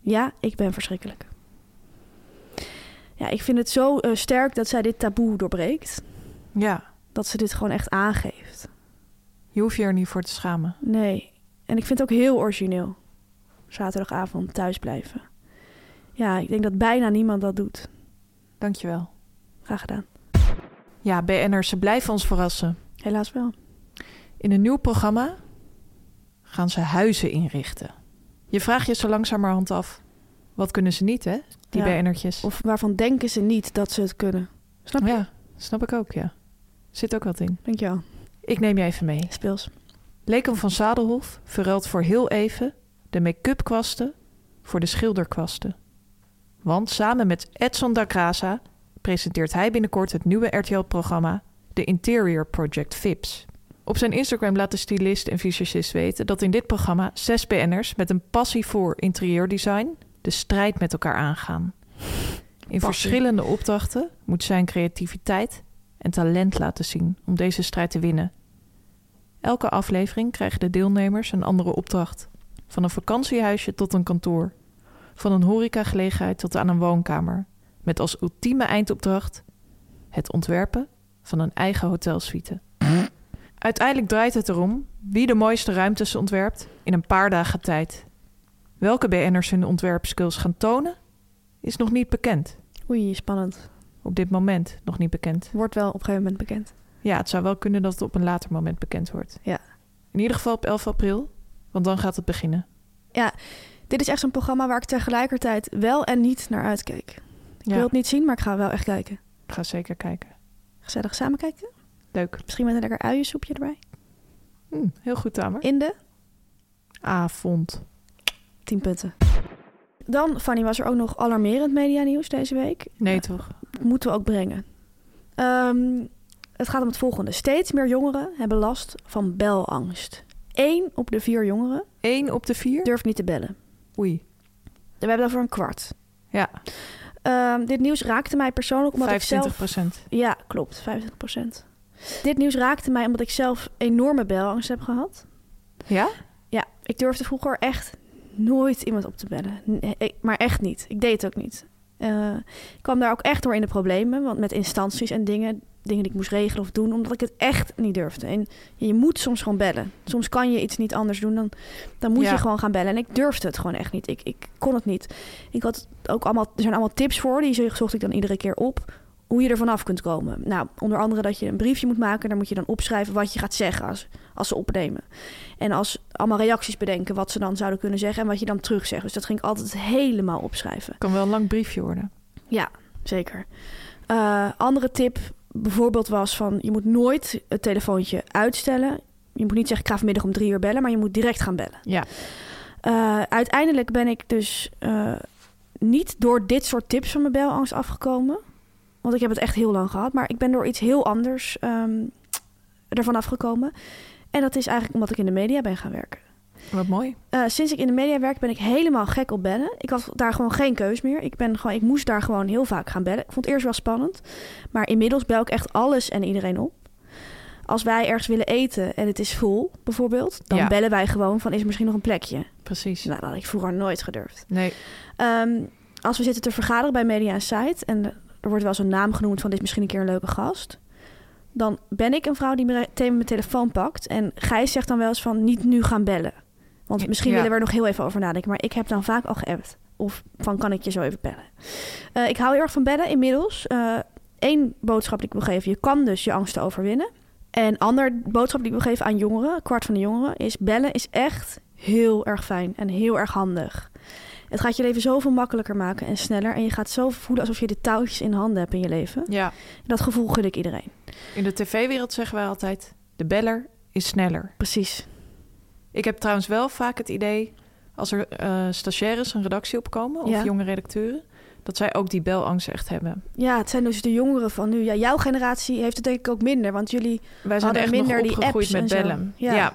Ja, ik ben verschrikkelijk. Ja, ik vind het zo eh, sterk dat zij dit taboe doorbreekt.
Ja,
Dat ze dit gewoon echt aangeeft.
je hoeft je er niet voor te schamen.
Nee. En ik vind het ook heel origineel. Zaterdagavond thuis blijven. Ja, ik denk dat bijna niemand dat doet.
Dankjewel.
Graag gedaan.
Ja, BN'ers, ze blijven ons verrassen.
Helaas wel.
In een nieuw programma gaan ze huizen inrichten. Je vraagt je zo langzamerhand af, wat kunnen ze niet, hè? Die
Ja.
BN'ertjes.
Of waarvan denken ze niet dat ze het kunnen? Snap je?
Ja, snap ik ook, ja. Zit ook wat in.
Dankjewel.
Ik neem je even mee.
Speels.
Leken van Zadelhof verruilt voor heel even de make-up kwasten voor de schilderkwasten. Want samen met Edson da Casa presenteert hij binnenkort het nieuwe RTL-programma The Interior Project Vips. Op zijn Instagram laat de stylist en visagist weten dat in dit programma zes BN'ers met een passie voor interieurdesign de strijd met elkaar aangaan. In verschillende opdrachten moet zijn creativiteit en talent laten zien om deze strijd te winnen. Elke aflevering krijgen de deelnemers een andere opdracht. Van een vakantiehuisje tot een kantoor. Van een horecagelegenheid tot aan een woonkamer. Met als ultieme eindopdracht het ontwerpen van een eigen hotelsuite. Uiteindelijk draait het erom wie de mooiste ruimtes ontwerpt in een paar dagen tijd. Welke BN'ers hun ontwerpskills gaan tonen, is nog niet bekend.
Oei, spannend.
Op dit moment nog niet bekend.
Wordt wel op een gegeven moment bekend.
Ja, het zou wel kunnen dat het op een later moment bekend wordt.
Ja.
In ieder geval op 11 april, want dan gaat het beginnen.
Ja, dit is echt zo'n programma waar ik tegelijkertijd wel en niet naar uitkeek. Ik
Ja.
wil het niet zien, maar ik ga wel echt kijken.
Ik ga zeker kijken.
Gezellig samen kijken.
Leuk.
Misschien met een lekker uiensoepje erbij.
Hm, heel goed, Tamer.
In de
Avond.
10 punten. Dan, Fanny, was er ook nog alarmerend medianieuws deze week.
Nee, toch?
Dat moeten we ook brengen. Ehm, het gaat om het volgende. Steeds meer jongeren hebben last van belangst. Eén op de vier jongeren
Eén op de vier?
durft niet te bellen.
Oei.
We hebben daarvoor een kwart.
Ja,
Ehm, dit nieuws raakte mij persoonlijk omdat ik
25
zelf...
procent.
Ja, klopt. 25 Dit nieuws raakte mij omdat ik zelf enorme belangst heb gehad.
Ja?
Ja, ik durfde vroeger echt nooit iemand op te bellen. Nee, ik- maar echt niet. Ik deed het ook niet. Eh, ik kwam daar ook echt door in de problemen. Want met instanties en dingen. Dingen die ik moest regelen of doen. Omdat ik het echt niet durfde. En je moet soms gewoon bellen. Soms kan je iets niet anders doen. Dan, dan moet
Ja.
je gewoon gaan bellen. En ik durfde het gewoon echt niet. Ik, ik kon het niet. Ik had ook allemaal, er zijn allemaal tips voor. Die zo- zocht ik dan iedere keer op. Hoe je er vanaf kunt komen. Nou, onder andere dat je een briefje moet maken. Daar moet je dan opschrijven wat je gaat zeggen als, als ze opnemen. En als allemaal reacties bedenken wat ze dan zouden kunnen zeggen en wat je dan terugzegt. Dus dat ging ik altijd helemaal opschrijven.
Kan wel een lang briefje worden.
Zeker. Eh, andere tip bijvoorbeeld was van je moet nooit het telefoontje uitstellen. Je moet niet zeggen ik ga vanmiddag om drie uur bellen, maar je moet direct gaan bellen.
Ja.
Eh, uiteindelijk ben ik dus eh, niet door dit soort tips van mijn belangst afgekomen. Want ik heb het echt heel lang gehad. Maar ik ben door iets heel anders ehm, ervan afgekomen. En dat is eigenlijk omdat ik in de media ben gaan werken.
Wat mooi.
Eh, sinds ik in de media werk ben ik helemaal gek op bellen. Ik had daar gewoon geen keus meer. Ik, ben gewoon, ik moest daar gewoon heel vaak gaan bellen. Ik vond het eerst wel spannend. Maar inmiddels bel ik echt alles en iedereen op. Als wij ergens willen eten en het is vol, bijvoorbeeld... dan
Ja.
bellen wij gewoon van is er misschien nog een plekje.
Precies.
Nou, dat had ik vroeger nooit gedurfd.
Nee.
Ehm, als we zitten te vergaderen bij Media Site en er wordt wel zo'n naam genoemd van dit is misschien een keer een leuke gast, dan ben ik een vrouw die meteen mijn telefoon pakt en Gijs zegt dan wel eens van niet nu gaan bellen. Want misschien
Ja.
willen we er nog heel even over nadenken, maar ik heb dan vaak al geappt. Of van kan ik je zo even bellen? Eh, ik hou heel erg van bellen inmiddels. Eh Eén boodschap die ik wil geven, je kan dus je angsten overwinnen. En ander boodschap die ik wil geven aan jongeren, een kwart van de jongeren, is bellen is echt heel erg fijn en heel erg handig. Het gaat je leven zoveel makkelijker maken en sneller. En je gaat zo voelen alsof je de touwtjes in handen hebt in je leven.
Ja.
Dat gevoel gun ik iedereen.
In de tv-wereld zeggen wij altijd... de beller is sneller.
Precies.
Ik heb trouwens wel vaak het idee... als er eh stagiaires een redactie opkomen... of
Ja.
jonge redacteuren... dat zij ook die belangst echt hebben.
Ja, het zijn dus de jongeren van nu. Ja, jouw generatie heeft het denk ik ook minder. Want jullie...
Wij zijn
Hadden
echt
Oh, minder
nog
die
opgegroeid
apps
met
en zo.
bellen.
Ja.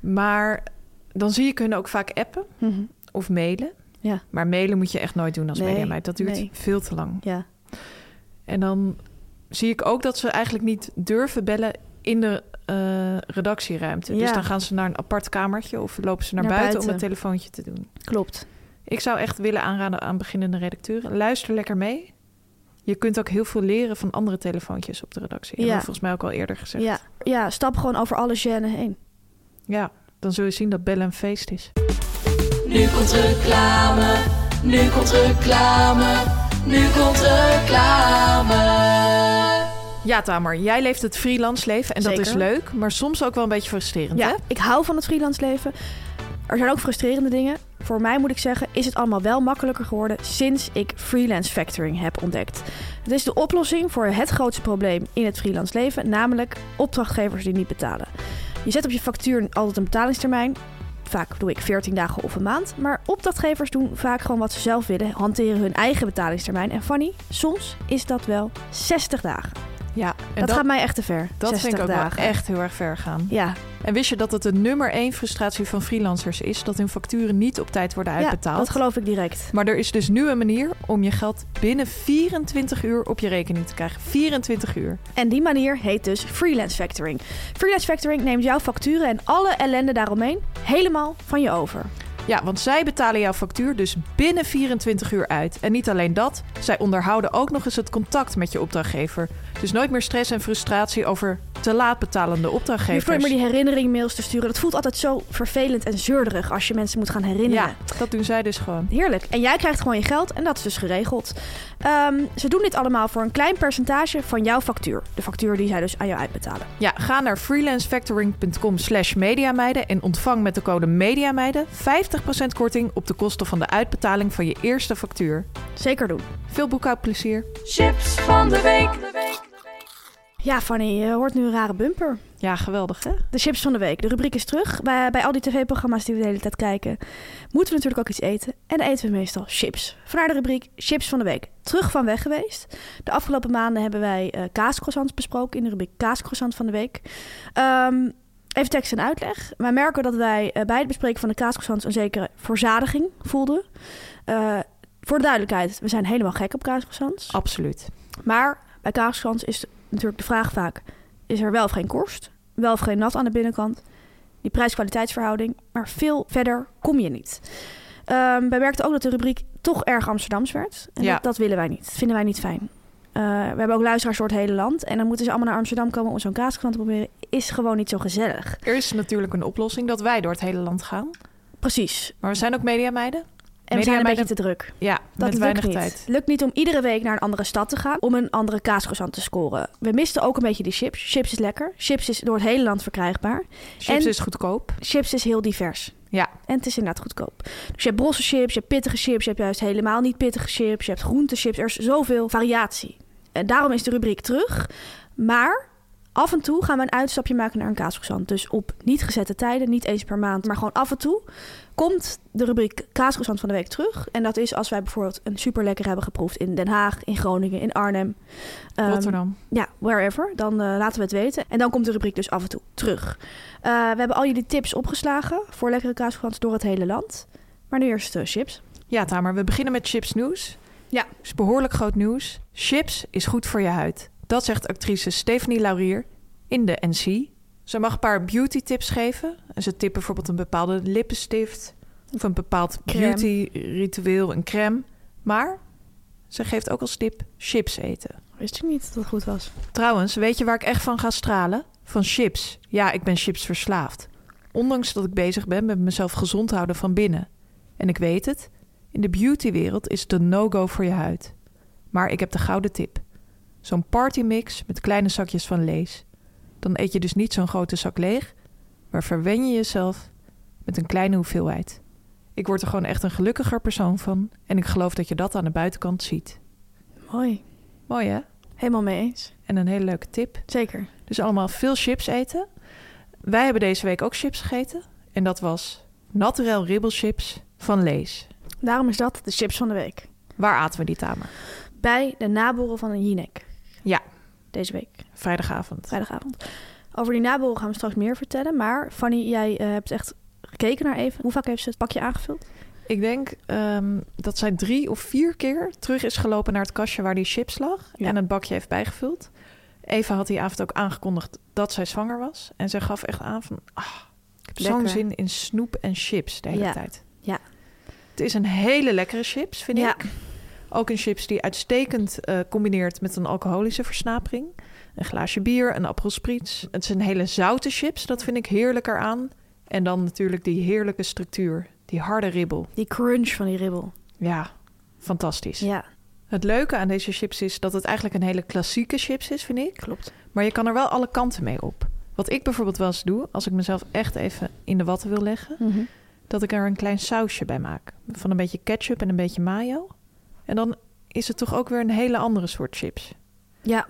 Maar dan zie ik hun ook vaak appen of mailen.
Mhm. Ja.
Maar mailen moet je echt nooit doen als
Nee,
mediameid. Dat duurt
nee.
veel te lang.
Ja.
En dan zie ik ook dat ze eigenlijk niet durven bellen in de eh, redactieruimte. Dus
Ja.
dan gaan ze naar een apart kamertje of lopen ze naar,
Naar
buiten, om
buiten.
het telefoontje te doen.
Klopt.
Ik zou echt willen aanraden aan beginnende redacteuren: luister lekker mee. Je kunt ook heel veel leren van andere telefoontjes op de redactie. Dat
Ja.
heb ik volgens mij ook al eerder gezegd.
Ja. ja, stap gewoon over alle gêne heen.
Ja, dan zul je zien dat bellen een feest is.
Nu komt reclame, nu komt reclame, nu komt reclame.
Ja, Tamer, jij leeft het freelance leven en dat
Zeker.
is leuk, maar soms ook wel een beetje frustrerend. Hè?
Ja, ik hou van het freelance leven. Er zijn ook frustrerende dingen. Voor mij moet ik zeggen, is het allemaal wel makkelijker geworden sinds ik freelance factoring heb ontdekt. Het is de oplossing voor het grootste probleem in het freelance leven, namelijk opdrachtgevers die niet betalen. Je zet op je factuur altijd een betalingstermijn. Vaak doe ik 14 dagen of een maand. Maar opdrachtgevers doen vaak gewoon wat ze zelf willen, hanteren hun eigen betalingstermijn. En Fanny, soms is dat wel 60 dagen.
Ja, en
Dat, gaat mij echt te ver.
dat
60
vind ik ook
dagen.
wel echt heel erg ver gaan.
Ja,
En wist je dat het de nummer één frustratie van freelancers is dat hun facturen niet op tijd worden
ja,
uitbetaald?
dat geloof ik direct.
Maar er is dus nu een manier om je geld binnen 24 uur op je rekening te krijgen. 24 uur.
En die manier heet dus freelance factoring. Freelance factoring neemt jouw facturen en alle ellende daaromheen helemaal van je over.
Ja, want zij betalen jouw factuur dus binnen 24 uur uit. En niet alleen dat, zij onderhouden ook nog eens het contact met je opdrachtgever. Dus nooit meer stress en frustratie over te laat betalende
Je hoeft nooit
opdrachtgevers.
meer die herinnering mails te sturen. Dat voelt altijd zo vervelend en zeurderig als je mensen moet gaan herinneren.
Ja, dat doen zij dus gewoon.
Heerlijk. En jij krijgt gewoon je geld en dat is dus geregeld. Ehm, ze doen dit allemaal voor een klein percentage van jouw factuur. De factuur die zij dus aan jou uitbetalen.
Ja, ga naar freelancefactoring.com slash mediameiden en ontvang met de code mediameiden 50% korting op de kosten van de uitbetaling van je eerste factuur.
Zeker doen.
Veel boekhoudplezier.
Chips van de week.
Ja, Fanny, je hoort nu een rare bumper.
Ja, geweldig hè?
De chips van de week. De rubriek is terug. Bij, bij al die tv-programma's die we de hele tijd kijken, moeten we natuurlijk ook iets eten. En dan eten we meestal chips. Vandaar de rubriek Chips van de week. Terug van weg geweest. De afgelopen maanden hebben wij eh kaascroissants besproken in de rubriek Kaascroissant van de week. Ehm, even tekst en uitleg. Wij merken dat wij eh, bij het bespreken van de kaascroissants een zekere verzadiging voelden. Eh, voor de duidelijkheid, we zijn helemaal gek op kaascroissants.
Absoluut.
Maar bij kaaskrans is natuurlijk de vraag vaak: is er wel of geen korst? Wel of geen nat aan de binnenkant? die prijs-kwaliteitsverhouding. Maar veel verder kom je niet. Ehm, wij merkten ook dat de rubriek toch erg Amsterdams werd. En
Ja.
dat, dat willen wij niet. Dat vinden wij niet fijn. Eh, we hebben ook luisteraars door het hele land. En dan moeten ze allemaal naar Amsterdam komen om zo'n kaaskrant te proberen. Is gewoon niet zo gezellig.
Er is natuurlijk een oplossing dat wij door het hele land gaan.
Precies.
Maar we zijn ook mediameiden.
En we zijn een beetje te druk.
Ja,
Dat
met
lukt
weinig
niet.
tijd.
Lukt niet om iedere week naar een andere stad te gaan om een andere kaascroissant te scoren. We misten ook een beetje die chips. Chips is lekker. Chips is door het hele land verkrijgbaar.
Chips
En-
is goedkoop.
Chips is heel divers.
Ja.
En het is inderdaad goedkoop. Dus je hebt brosse chips, je hebt pittige chips, je hebt juist helemaal niet pittige chips, je hebt groentechips. Er is zoveel variatie. En daarom is de rubriek terug. Maar af en toe gaan we een uitstapje maken naar een kaascroissant. Dus op niet gezette tijden, niet eens per maand, maar gewoon af en toe komt de rubriek kaascroissant van de week terug. En dat is als wij bijvoorbeeld een superlekker hebben geproefd in Den Haag, in Groningen, in Arnhem. Ehm,
Rotterdam.
ja, wherever. Dan eh, laten we het weten. En dan komt de rubriek dus af en toe terug. Eh, we hebben al jullie tips opgeslagen voor lekkere kaaskrans door het hele land. Maar nu eerst eh, chips.
Ja, Tamer, we beginnen met chips nieuws.
Ja.
Het is behoorlijk groot nieuws. Chips is goed voor je huid. Dat zegt actrice Stephanie Laurier in de NC. Ze mag een paar beauty tips geven. En Ze tipt bijvoorbeeld een bepaalde lippenstift of een bepaald
Crème.
beauty ritueel, een crème. Maar ze geeft ook als tip chips eten.
Wist ik niet dat het goed was.
Trouwens, weet je waar ik echt van ga stralen? Van chips. Ja, ik ben chips verslaafd. Ondanks dat ik bezig ben met mezelf gezond houden van binnen. En ik weet het, in de beautywereld is het een no-go voor je huid. Maar ik heb de gouden tip. Zo'n partymix met kleine zakjes van Lees. Dan eet je dus niet zo'n grote zak leeg, maar verwen je jezelf met een kleine hoeveelheid. Ik word er gewoon echt een gelukkiger persoon van en ik geloof dat je dat aan de buitenkant ziet.
Mooi.
Mooi hè?
Helemaal mee eens.
En een hele leuke tip.
Zeker.
Dus allemaal veel chips eten. Wij hebben deze week ook chips gegeten. En dat was Naturel Ribbelchips van Lees.
Daarom is dat de chips van de week.
Waar aten we die tamer?
Bij de naboren van een Jinek.
Ja.
Deze week,
Vrijdagavond.
vrijdagavond. Over die naboren gaan we straks meer vertellen. Maar Fanny, jij eh, hebt echt gekeken naar even. Hoe vaak heeft ze het pakje aangevuld?
Ik denk ehm, dat zij drie of vier keer terug is gelopen naar het kastje waar die chips lag.
Ja.
En het bakje heeft bijgevuld. Eva had die avond ook aangekondigd dat zij zwanger was. En zij gaf echt aan van... Ah, ik heb zo'n
Lekker.
zin in snoep en chips de hele
Ja.
tijd.
Ja.
Het is een hele lekkere chips, vind
Ja.
ik. Ook een chips die uitstekend eh, combineert met een alcoholische versnapering. Een glaasje bier, een appel spritz. Het zijn hele zoute chips, dat vind ik heerlijker aan. En dan natuurlijk die heerlijke structuur, die harde ribbel.
Die crunch van die ribbel.
Ja, fantastisch.
Ja,
Het leuke aan deze chips is dat het eigenlijk een hele klassieke chips is, vind ik.
klopt.
Maar je kan er wel alle kanten mee op. Wat ik bijvoorbeeld wel eens doe, als ik mezelf echt even in de watten wil leggen,
Mhm.
dat ik er een klein sausje bij maak. Van een beetje ketchup en een beetje mayo. En dan is het toch ook weer een hele andere soort chips.
Ja,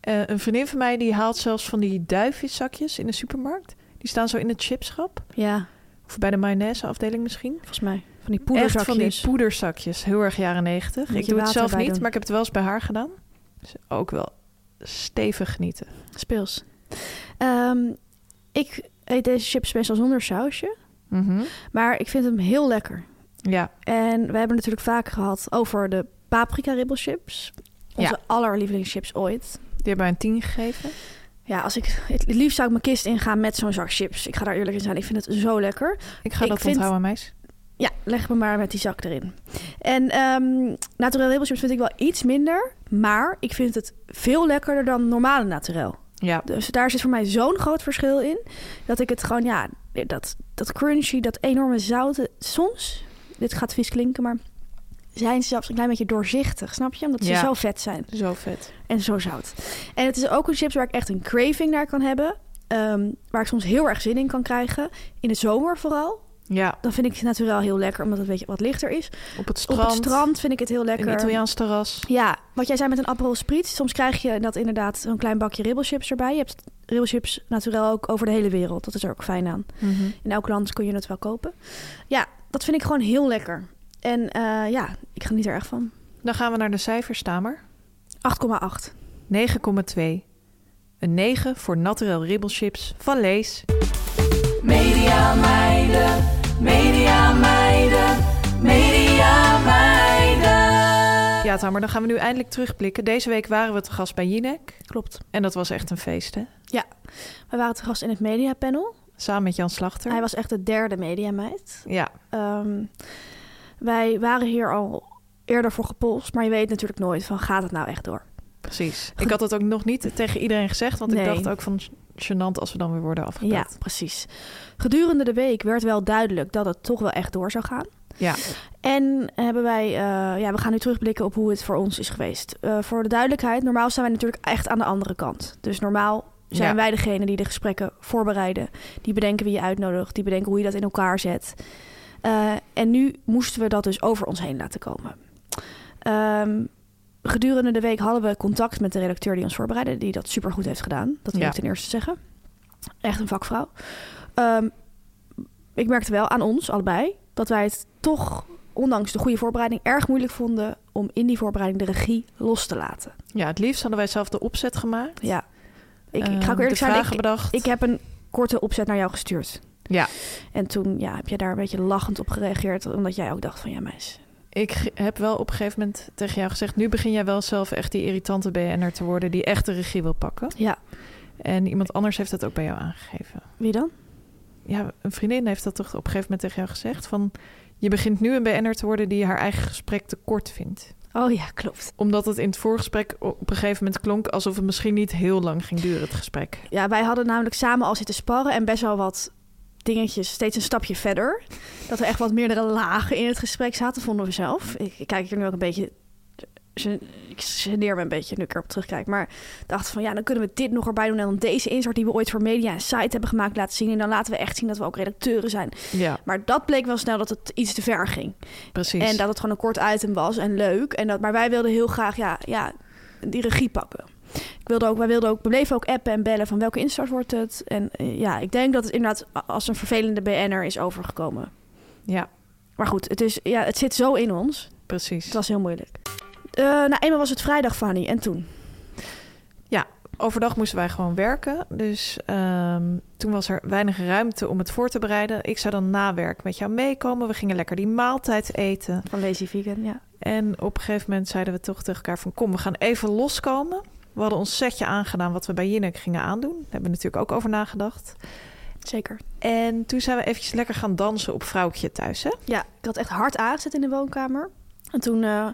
Eh, een vriendin van mij die haalt zelfs van die duifjeszakjes in de supermarkt. Die staan zo in het chipschap.
ja.
Of bij de mayonaise afdeling misschien.
Volgens mij. Van die
Echt van die poederzakjes. Heel erg jaren negentig.
Beetje
Ik doe het
water
zelf
bij
niet,
doen.
maar ik heb het wel eens bij haar gedaan. Dus ook wel stevig genieten.
Speels. Ehm, ik eet deze chips meestal zonder sausje. Mhm. Maar ik vind hem heel lekker.
Ja,
En we hebben natuurlijk vaak gehad over de paprika ribbelchips. Onze
Ja.
allerlievelingschips ooit.
die hebben wij een 10 gegeven.
Ja, als ik, het liefst zou ik mijn kist ingaan met zo'n zak chips. Ik ga daar eerlijk in zijn. Ik vind het zo lekker.
Ik ga
Ik
dat
vind-
onthouden, meis.
Ja, leg me maar met die zak erin. En ehm naturel ribbelchips vind ik wel iets minder. Maar ik vind het veel lekkerder dan normale naturel.
Ja,
Dus daar zit voor mij zo'n groot verschil in. Dat ik het gewoon, ja, dat, dat crunchy, dat enorme zoute. Soms, dit gaat vies klinken, maar zijn ze zelfs een klein beetje doorzichtig, snap je? Omdat ze
Ja.
zo vet zijn
zo vet.
en zo zout. En het is ook een chips waar ik echt een craving naar kan hebben. ehm, waar ik soms heel erg zin in kan krijgen. In de zomer vooral.
Ja,
Dan vind ik het natuurlijk heel lekker, omdat het een beetje wat lichter is.
op het strand.
Op het strand vind ik het heel lekker.
Een Italiaans terras.
Ja, wat jij zei met een Aperol Spritz. Soms krijg je dat inderdaad zo'n klein bakje ribbelchips erbij. Je hebt ribbelchips natuurlijk ook over de hele wereld. Dat is er ook fijn aan. In elk land kun je het wel kopen. Ja, dat vind ik gewoon heel lekker. En eh, ja, ik geniet er echt van.
Dan gaan we naar de cijfers, Tamer.
8,8.
9,2. Een 9 voor Naturel Ribbelchips van Lees.
Media meiden, media meiden, media meiden.
Ja, Tamer, dan gaan we nu eindelijk terugblikken. Deze week waren we te gast bij Jinek.
Klopt.
En dat was echt een feest, hè?
Ja, we waren te gast in het mediapanel.
Samen met Jan Slachter.
Hij was echt de derde mediameid.
Ja,
Ehm, wij waren hier al eerder voor gepolst, maar je weet natuurlijk nooit van gaat het nou echt door.
precies. Ik had het ook nog niet tegen iedereen gezegd, want ik
Nee.
dacht ook van gênant als we dan weer worden
Ja,
afgebeeld.
precies. Gedurende de week werd wel duidelijk dat het toch wel echt door zou gaan.
Ja.
En hebben wij, eh, ja, we gaan nu terugblikken op hoe het voor ons is geweest. Eh, voor de duidelijkheid, normaal zijn wij natuurlijk echt aan de andere kant. Dus normaal zijn
Ja.
wij degene die de gesprekken voorbereiden. Die bedenken wie je uitnodigt, die bedenken hoe je dat in elkaar zet. Eh, en nu moesten we dat dus over ons heen laten komen. Ehm, gedurende de week hadden we contact met de redacteur die ons voorbereidde, die dat supergoed heeft gedaan. Dat wil
Ja.
ik ten eerste zeggen. Echt een vakvrouw. Ehm, ik merkte wel aan ons allebei dat wij het toch, ondanks de goede voorbereiding, erg moeilijk vonden om in die voorbereiding de regie los te laten.
ja, het liefst hadden wij zelf de opzet gemaakt.
Ja, ik,
Ehm,
ik ga ook
de
eerlijk zijn.
vragen
Ik,
bedacht.
ik heb een korte opzet naar jou gestuurd.
Ja.
En toen ja, heb je daar een beetje lachend op gereageerd, omdat jij ook dacht van ja, meis.
Ik ge- heb wel op een gegeven moment tegen jou gezegd... nu begin jij wel zelf echt die irritante BN'er te worden... die echt de regie wil pakken.
Ja,
En iemand anders heeft dat ook bij jou aangegeven.
wie dan?
Ja, een vriendin heeft dat toch op een gegeven moment tegen jou gezegd... van je begint nu een BN'er te worden die haar eigen gesprek te kort vindt.
Oh ja, klopt.
Omdat het in het voorgesprek op een gegeven moment klonk... alsof het misschien niet heel lang ging duren, het gesprek.
Ja, wij hadden namelijk samen al zitten sparren en best wel wat dingetjes, steeds een stapje verder. Dat er echt wat meerdere lagen in het gesprek zaten, vonden we zelf. Ik, ik kijk er nu ook een beetje... gen- Ik geneer me een beetje nu ik erop terugkijk. Maar dacht van ja, dan kunnen we dit nog erbij doen. En dan deze insert die we ooit voor media en site hebben gemaakt laten zien. En dan laten we echt zien dat we ook redacteuren zijn.
Ja,
Maar dat bleek wel snel dat het iets te ver ging.
precies.
En dat het gewoon een kort item was en leuk. En dat, maar wij wilden heel graag ja, ja, die regie pakken. Ik wilde ook, wij wilden ook, we bleven ook appen en bellen van welke instart wordt het. En eh, ja, ik denk dat het inderdaad a- als een vervelende BN'er is overgekomen.
Ja,
Maar goed, het, is, ja, het zit zo in ons.
precies.
Het was heel moeilijk. Eh nou, eenmaal was het vrijdag, Fanny. En toen?
Overdag moesten wij gewoon werken. Dus ehm, toen was er weinig ruimte om het voor te bereiden. Ik zou dan na werk met jou meekomen. We gingen lekker die maaltijd eten.
Van Lazy Vegan, ja.
En op een gegeven moment zeiden we toch tegen elkaar van... kom, we gaan even loskomen. We hadden ons setje aangedaan wat we bij Jinek gingen aandoen. Daar hebben we natuurlijk ook over nagedacht.
Zeker.
En toen zijn we eventjes lekker gaan dansen op vrouwtje thuis, hè?
Ja, ik had echt hard aangezet in de woonkamer. En toen eh,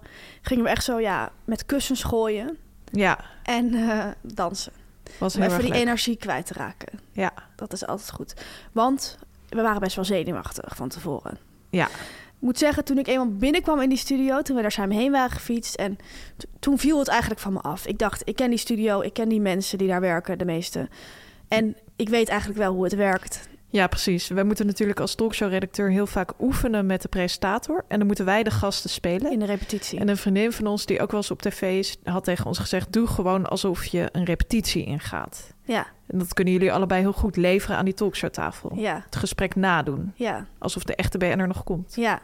gingen we echt zo, ja, met kussens gooien
Ja,
en eh, dansen.
was
Om
heel
even
erg
die
leuk.
energie kwijt te raken.
Ja,
Dat is altijd goed. Want we waren best wel zenuwachtig van tevoren.
Ja.
Ik moet zeggen, toen ik eenmaal binnenkwam in die studio, toen we daar samen heen waren gefietst. En t- toen viel het eigenlijk van me af. Ik dacht, ik ken die studio, ik ken die mensen die daar werken, de meeste. En ik weet eigenlijk wel hoe het werkt.
ja, precies. Wij moeten natuurlijk als talkshow-redacteur heel vaak oefenen met de presentator. En dan moeten wij de gasten spelen.
In de repetitie.
En een vriendin van ons, die ook wel eens op tv is, had tegen ons gezegd... doe gewoon alsof je een repetitie ingaat.
Ja,
En dat kunnen jullie allebei heel goed leveren aan die talkshowtafel.
ja,
Het gesprek nadoen,
ja,
alsof de echte BN'er nog komt.
ja.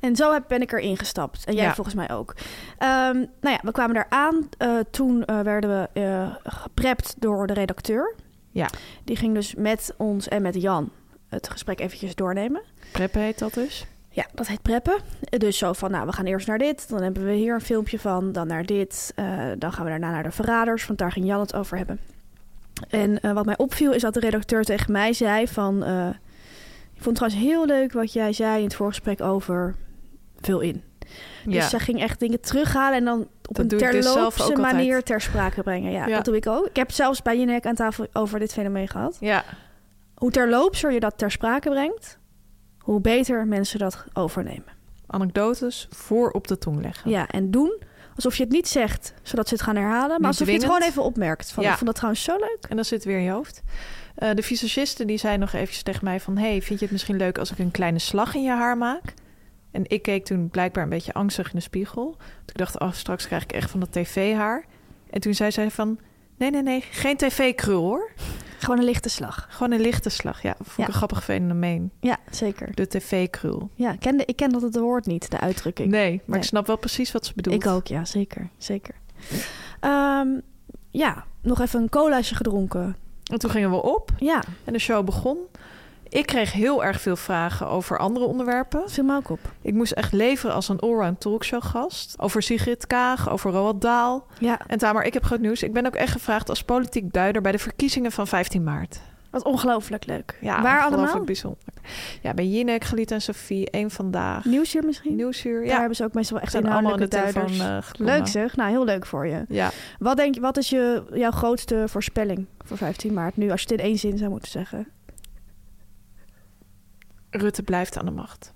En zo heb- ben ik erin gestapt. En jij
Ja.
volgens mij ook. Ehm, nou ja, we kwamen daar aan. Eh, toen eh, werden we eh, geprept door de redacteur.
Ja.
Die ging dus met ons en met Jan het gesprek eventjes doornemen.
Prep heet dat dus.
Ja, dat heet preppen. Eh, Dus zo van, nou, we gaan eerst naar dit. Dan hebben we hier een filmpje van. Dan naar dit. eh, dan gaan we daarna naar de verraders. Want daar ging Jan het over hebben. En eh, wat mij opviel is dat de redacteur tegen mij zei van... eh, ik vond het trouwens heel leuk wat jij zei in het voorgesprek over veel in. Dus zij ging echt dingen terughalen en dan op
Dat
een
doe ik dus zelf
terloopse
ook altijd.
manier ter sprake brengen. Ja,
Ja.
dat doe ik ook. Ik heb zelfs bij Jinek aan tafel over dit fenomeen gehad.
ja.
Hoe terloopser je dat ter sprake brengt, hoe beter mensen dat overnemen.
anekdotes voor op de tong leggen.
Ja, en doen alsof je het niet zegt, zodat ze het gaan herhalen. Maar
Niet
alsof je het gewoon
dwingend.
even opmerkt. Van,
Ja.
Ik vond dat trouwens zo leuk.
En dan zit het weer in je hoofd. Eh, de visagiste die zei nog eventjes tegen mij van... hey, vind je het misschien leuk als ik een kleine slag in je haar maak? En ik keek toen blijkbaar een beetje angstig in de spiegel. Want ik dacht, oh, straks krijg ik echt van dat tv-haar. En toen zei zij van... nee, nee, nee, geen tv-krul hoor.
Gewoon een lichte slag.
Gewoon een lichte slag. Ja, vond ik
Ja.
een grappig fenomeen.
Ja, zeker.
De tv-krul.
Ja, ik kende, ik kende dat het woord niet, de uitdrukking.
Nee, maar
Nee.
ik snap wel precies wat ze bedoelt.
Ik ook, ja, zeker. zeker. Ehm, ja, nog even een colaatje gedronken.
En toen gingen we op
Ja,
en de show begon. Ik kreeg heel erg veel vragen over andere onderwerpen.
dat viel me ook op.
Ik moest echt leveren als een allround talkshow-gast. Over Sigrid Kaag, over Roald Daal.
Ja,
En Tamer, ik heb groot nieuws. Ik ben ook echt gevraagd als politiek duider bij de verkiezingen van 15 maart.
Wat ongelooflijk leuk.
Ja,
Waar allemaal?
ongelooflijk bijzonder. Ja, bij Jinek, Geliet en Sophie, één vandaag.
Nieuwsuur misschien?
Nieuwsuur,
Daar
ja.
hebben ze ook meestal wel echt
Zijn allemaal in de
inhoudelijke
telefoon
duiders.
eh, geklommen.
leuk zeg. Nou, heel leuk voor je.
Ja,
Wat, denk, je- wat is je, jouw grootste voorspelling voor 15 maart? Nu, als je het in één zin zou moeten zeggen.
Rutte blijft aan de macht.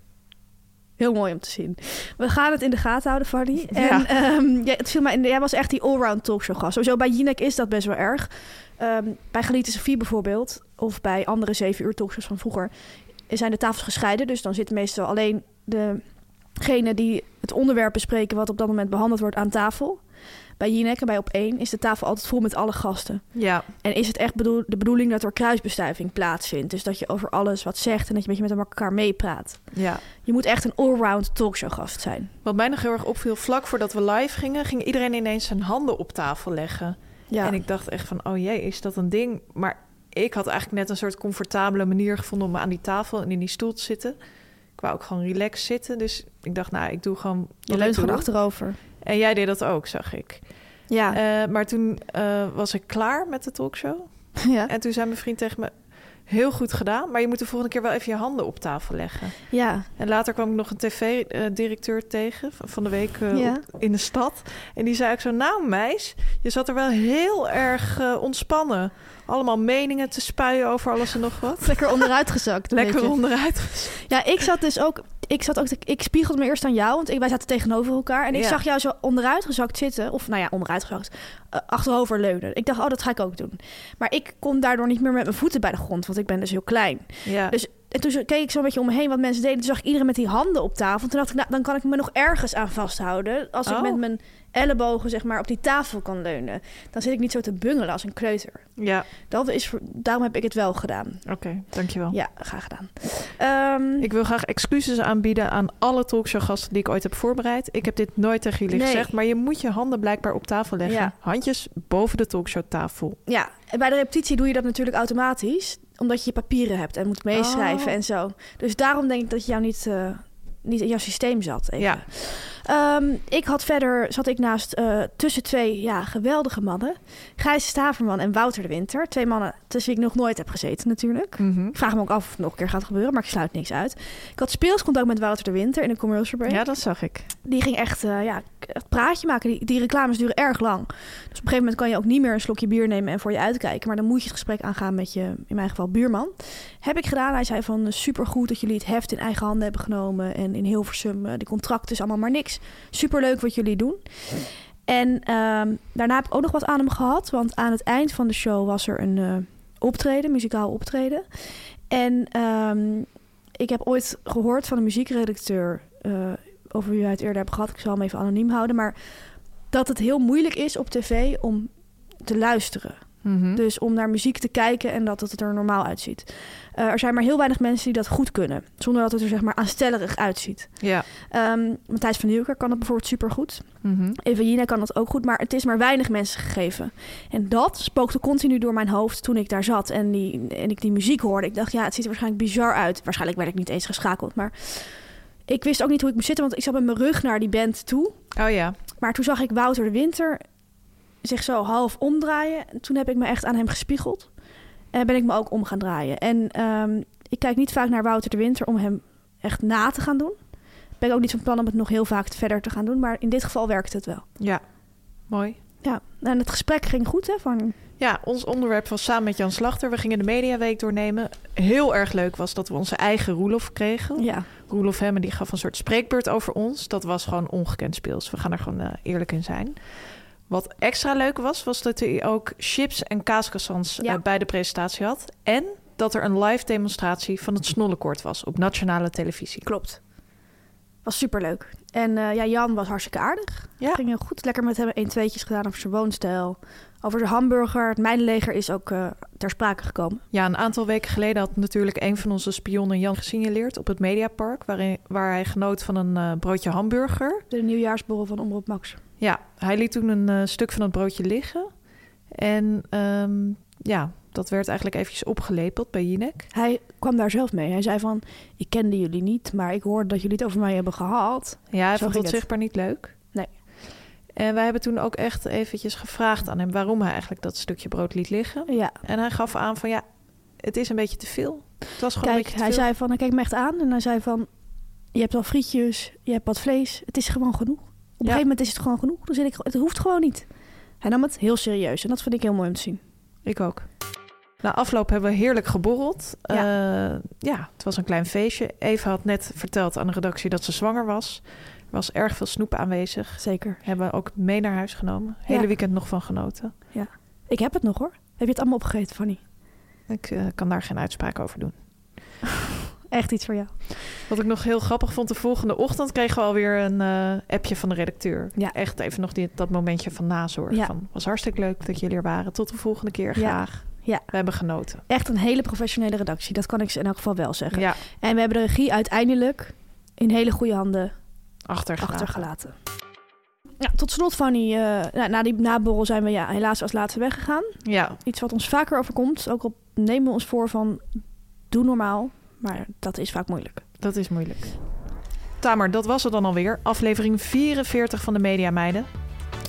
Heel mooi om te zien. We gaan het in de gaten houden, Fanny. En
Ja.
ehm, jij, het viel mij in, jij was echt die allround talkshow gast. Sowieso bij Jinek is dat best wel erg. Ehm, bij Galite Sophie bijvoorbeeld, of bij andere 7 uur talkshows van vroeger, zijn de tafels gescheiden. Dus dan zitten meestal alleen degenen die het onderwerp bespreken wat op dat moment behandeld wordt aan tafel. Bij Jinek en bij Op 1 is de tafel altijd vol met alle gasten.
Ja,
En is het echt bedoel- de bedoeling dat er kruisbestuiving plaatsvindt? Dus dat je over alles wat zegt en dat je een beetje met elkaar meepraat.
ja.
Je moet echt een allround talkshowgast zijn.
Wat mij nog heel erg opviel, vlak voordat we live gingen, ging iedereen ineens zijn handen op tafel leggen.
Ja.
En ik dacht echt van, oh jee, is dat een ding? Maar ik had eigenlijk net een soort comfortabele manier gevonden om aan die tafel en in die stoel te zitten. Ik wou ook gewoon relaxed zitten, dus ik dacht, nou, ik doe gewoon... wat
je
ik
leunt gewoon
doe.
achterover.
En jij deed dat ook, zag ik.
Ja.
Eh, maar toen eh, was ik klaar met de talkshow.
(laughs) ja.
En toen zei mijn vriend tegen me: Heel goed gedaan, maar je moet de volgende keer wel even je handen op tafel leggen.
ja.
En later kwam ik nog een tv-directeur tegen van van de week eh,
Ja.
op- in de stad. En die zei ook zo: Nou, meis, je zat er wel heel erg eh, ontspannen. Allemaal meningen te spuien over alles en nog
(laughs)
wat.
Lekker onderuit gezakt. een
Lekker
beetje.
onderuit. gezet.
Ja, ik zat dus ook. Ik, zat ook te- ik spiegelde me eerst aan jou, want ik, wij zaten tegenover elkaar. En ik
Ja.
zag jou zo onderuitgezakt zitten. Of nou ja, onderuitgezakt. eh, achterover leunen. Ik dacht, oh, dat ga ik ook doen. Maar ik kon daardoor niet meer met mijn voeten bij de grond, want ik ben dus heel klein.
Ja.
Dus en toen zo- keek ik zo'n beetje om me heen wat mensen deden. Toen zag ik iedereen met die handen op tafel. Toen dacht ik, nou, dan kan ik me nog ergens aan vasthouden. Als ik
Oh.
met mijn ellebogen zeg maar, op die tafel kan leunen. Dan zit ik niet zo te bungelen als een kleuter.
ja.
Dat is, voor- daarom heb ik het wel gedaan.
oké, dankjewel.
Ja, graag gedaan. Ehm,
Oh. Ik wil graag excuses aanbieden aan alle talkshowgasten die ik ooit heb voorbereid. Ik heb dit nooit tegen jullie
Nee.
gezegd, maar je moet je handen blijkbaar op tafel leggen.
Ja.
Handjes boven de talkshowtafel.
ja, en bij de repetitie doe je dat natuurlijk automatisch. Omdat je je papieren hebt en moet meeschrijven
Oh.
en zo. Dus daarom denk ik dat je jou niet, eh, niet in jouw systeem zat. Even.
Ja,
Ehm, ik had verder, zat ik naast eh, tussen twee ja, geweldige mannen. Gijs Staverman en Wouter de Winter. Twee mannen tussen wie ik nog nooit heb gezeten natuurlijk.
Mhm.
Ik vraag me ook af of het nog een keer gaat gebeuren, maar ik sluit niks uit. Ik had speelscontact met Wouter de Winter in een commercial break.
ja dat zag ik.
Die ging echt eh, ja, het praatje maken. Die, die reclames duren erg lang. Dus op een gegeven moment kan je ook niet meer een slokje bier nemen en voor je uitkijken. Maar dan moet je het gesprek aangaan met je, in mijn geval, buurman. Heb ik gedaan. Hij zei van eh, supergoed dat jullie het heft in eigen handen hebben genomen. En in Hilversum, eh, die contract is allemaal maar niks. Superleuk wat jullie doen. En ehm, daarna heb ik ook nog wat aan hem gehad. Want aan het eind van de show was er een eh, optreden, muzikaal optreden. En ehm, ik heb ooit gehoord van een muziekredacteur... eh, over wie wij het eerder hebben gehad. Ik zal hem even anoniem houden. Maar dat het heel moeilijk is op tv om te luisteren.
Hm? Mhm.
Dus om naar muziek te kijken en dat het er normaal uitziet. Eh, er zijn maar heel weinig mensen die dat goed kunnen. Zonder dat het er zeg maar aanstellerig uitziet.
Ja.
Ehm Matthijs van Nieuwkerk kan dat bijvoorbeeld supergoed. Eva Jina kan dat ook goed. Maar het is maar weinig mensen gegeven. En dat spookte continu door mijn hoofd toen ik daar zat. En, die, en ik die muziek hoorde. Ik dacht, ja, het ziet er waarschijnlijk bizar uit. Waarschijnlijk werd ik niet eens geschakeld. Maar ik wist ook niet hoe ik moest zitten. Want ik zat met mijn rug naar die band toe.
Oh ja.
Maar toen zag ik Wouter de Winter zich zo half omdraaien. En toen heb ik me echt aan hem gespiegeld. En ben ik me ook om gaan draaien. En ehm, ik kijk niet vaak naar Wouter de Winter om hem echt na te gaan doen. Ik ben ook niet van plan om het nog heel vaak verder te gaan doen. Maar in dit geval werkte het wel.
Ja. Mooi.
Ja, en het gesprek ging goed, hè? Van...
Ja, ons onderwerp was samen met Jan Slachter. We gingen de Mediaweek doornemen. Heel erg leuk was dat we onze eigen Roelof kregen.
Ja.
Roelof Hemmen die gaf een soort spreekbeurt over ons. Dat was gewoon ongekend speels. We gaan er gewoon eh, eerlijk in zijn. Wat extra leuk was, was dat hij ook chips en kaaskassans
Ja.
eh, bij de presentatie had. En dat er een live demonstratie van het Snollekort was op nationale televisie.
Klopt. Was superleuk. En eh, ja, Jan was hartstikke aardig.
Ja.
Ging heel goed. Lekker met hem een tweetjes gedaan over zijn woonstijl. Over de hamburger. Het mijnenleger is ook eh, ter sprake gekomen.
Ja, een aantal weken geleden had natuurlijk een van onze spionnen Jan gesignaleerd op het Mediapark, waarin, waar hij genoot van een eh, broodje hamburger.
De nieuwjaarsborrel van Omroep Max.
Ja, hij liet toen een eh, stuk van het broodje liggen. En ehm, ja, dat werd eigenlijk eventjes opgelepeld bij Jinek.
Hij kwam daar zelf mee. Hij zei van, ik kende jullie niet, maar ik hoorde dat jullie het over mij hebben gehad.
Ja, hij
Zo
vond
ging
het
het.
zichtbaar niet leuk.
Nee.
En wij hebben toen ook echt eventjes gevraagd aan hem waarom hij eigenlijk dat stukje brood liet liggen.
Ja,
En hij gaf aan van ja, het is een beetje te veel. Het was gewoon een
Kijk,
beetje te
hij
veel.
zei van, hij kijkt me echt aan. En hij zei van, je hebt al frietjes, je hebt wat vlees. Het is gewoon genoeg. Op een gegeven moment is het gewoon genoeg. Dan zit ik, het hoeft gewoon niet. Hij nam het heel serieus. En dat vind ik heel mooi om te zien.
Ik ook. Na afloop hebben we heerlijk geborreld. Ja. ja, het was een klein feestje. Eva had net verteld aan de redactie dat ze zwanger was. Er was erg veel snoep aanwezig.
Zeker.
Hebben we ook mee naar huis genomen. Hele
Ja.
weekend nog van genoten.
Ik heb het nog hoor. Heb je het allemaal opgegeten, Fanny?
Ik eh, kan daar geen uitspraak over doen.
Echt iets voor jou.
Wat ik nog heel grappig vond, de volgende ochtend kregen we alweer een eh, appje van de redacteur.
Ja.
Echt even nog die, dat momentje van nazorg.
Ja.
Van, was hartstikke leuk dat jullie er waren. Tot de volgende keer.
Ja.
Graag.
Ja.
We hebben genoten.
Echt een hele professionele redactie. Dat kan ik ze in elk geval wel zeggen.
Ja,
En we hebben de regie uiteindelijk in hele goede handen
achtergelaten.
achtergelaten. Ja, tot slot, Fanny. eh, na, na die naborrel zijn we ja, helaas als laatste weggegaan.
Ja,
Iets wat ons vaker overkomt. Ook al nemen we ons voor van doe normaal. Maar dat is vaak moeilijk.
Dat is moeilijk. Tamer, dat was het dan alweer. Aflevering 44 van de Media Meiden.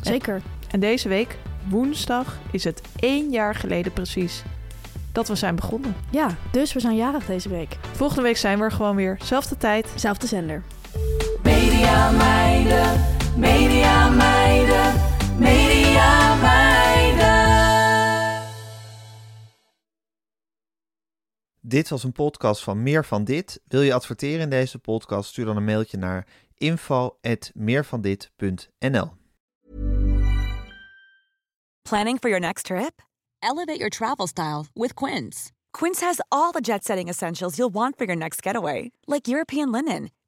Zeker.
En deze week, woensdag, is het één jaar geleden precies dat we zijn begonnen.
Ja, dus we zijn jarig deze week.
Volgende week zijn we er gewoon weer. Zelfde tijd,
Zelfde zender.
Media meiden, media meiden, media uh. meiden.
Dit was een podcast van Meer van Dit. Wil je adverteren in deze podcast? Stuur dan een mailtje naar info.meervandit.nl
Planning for your next trip? Elevate your travel style with Quince. Quince has all the jet setting essentials you'll want for your next getaway, like European linen,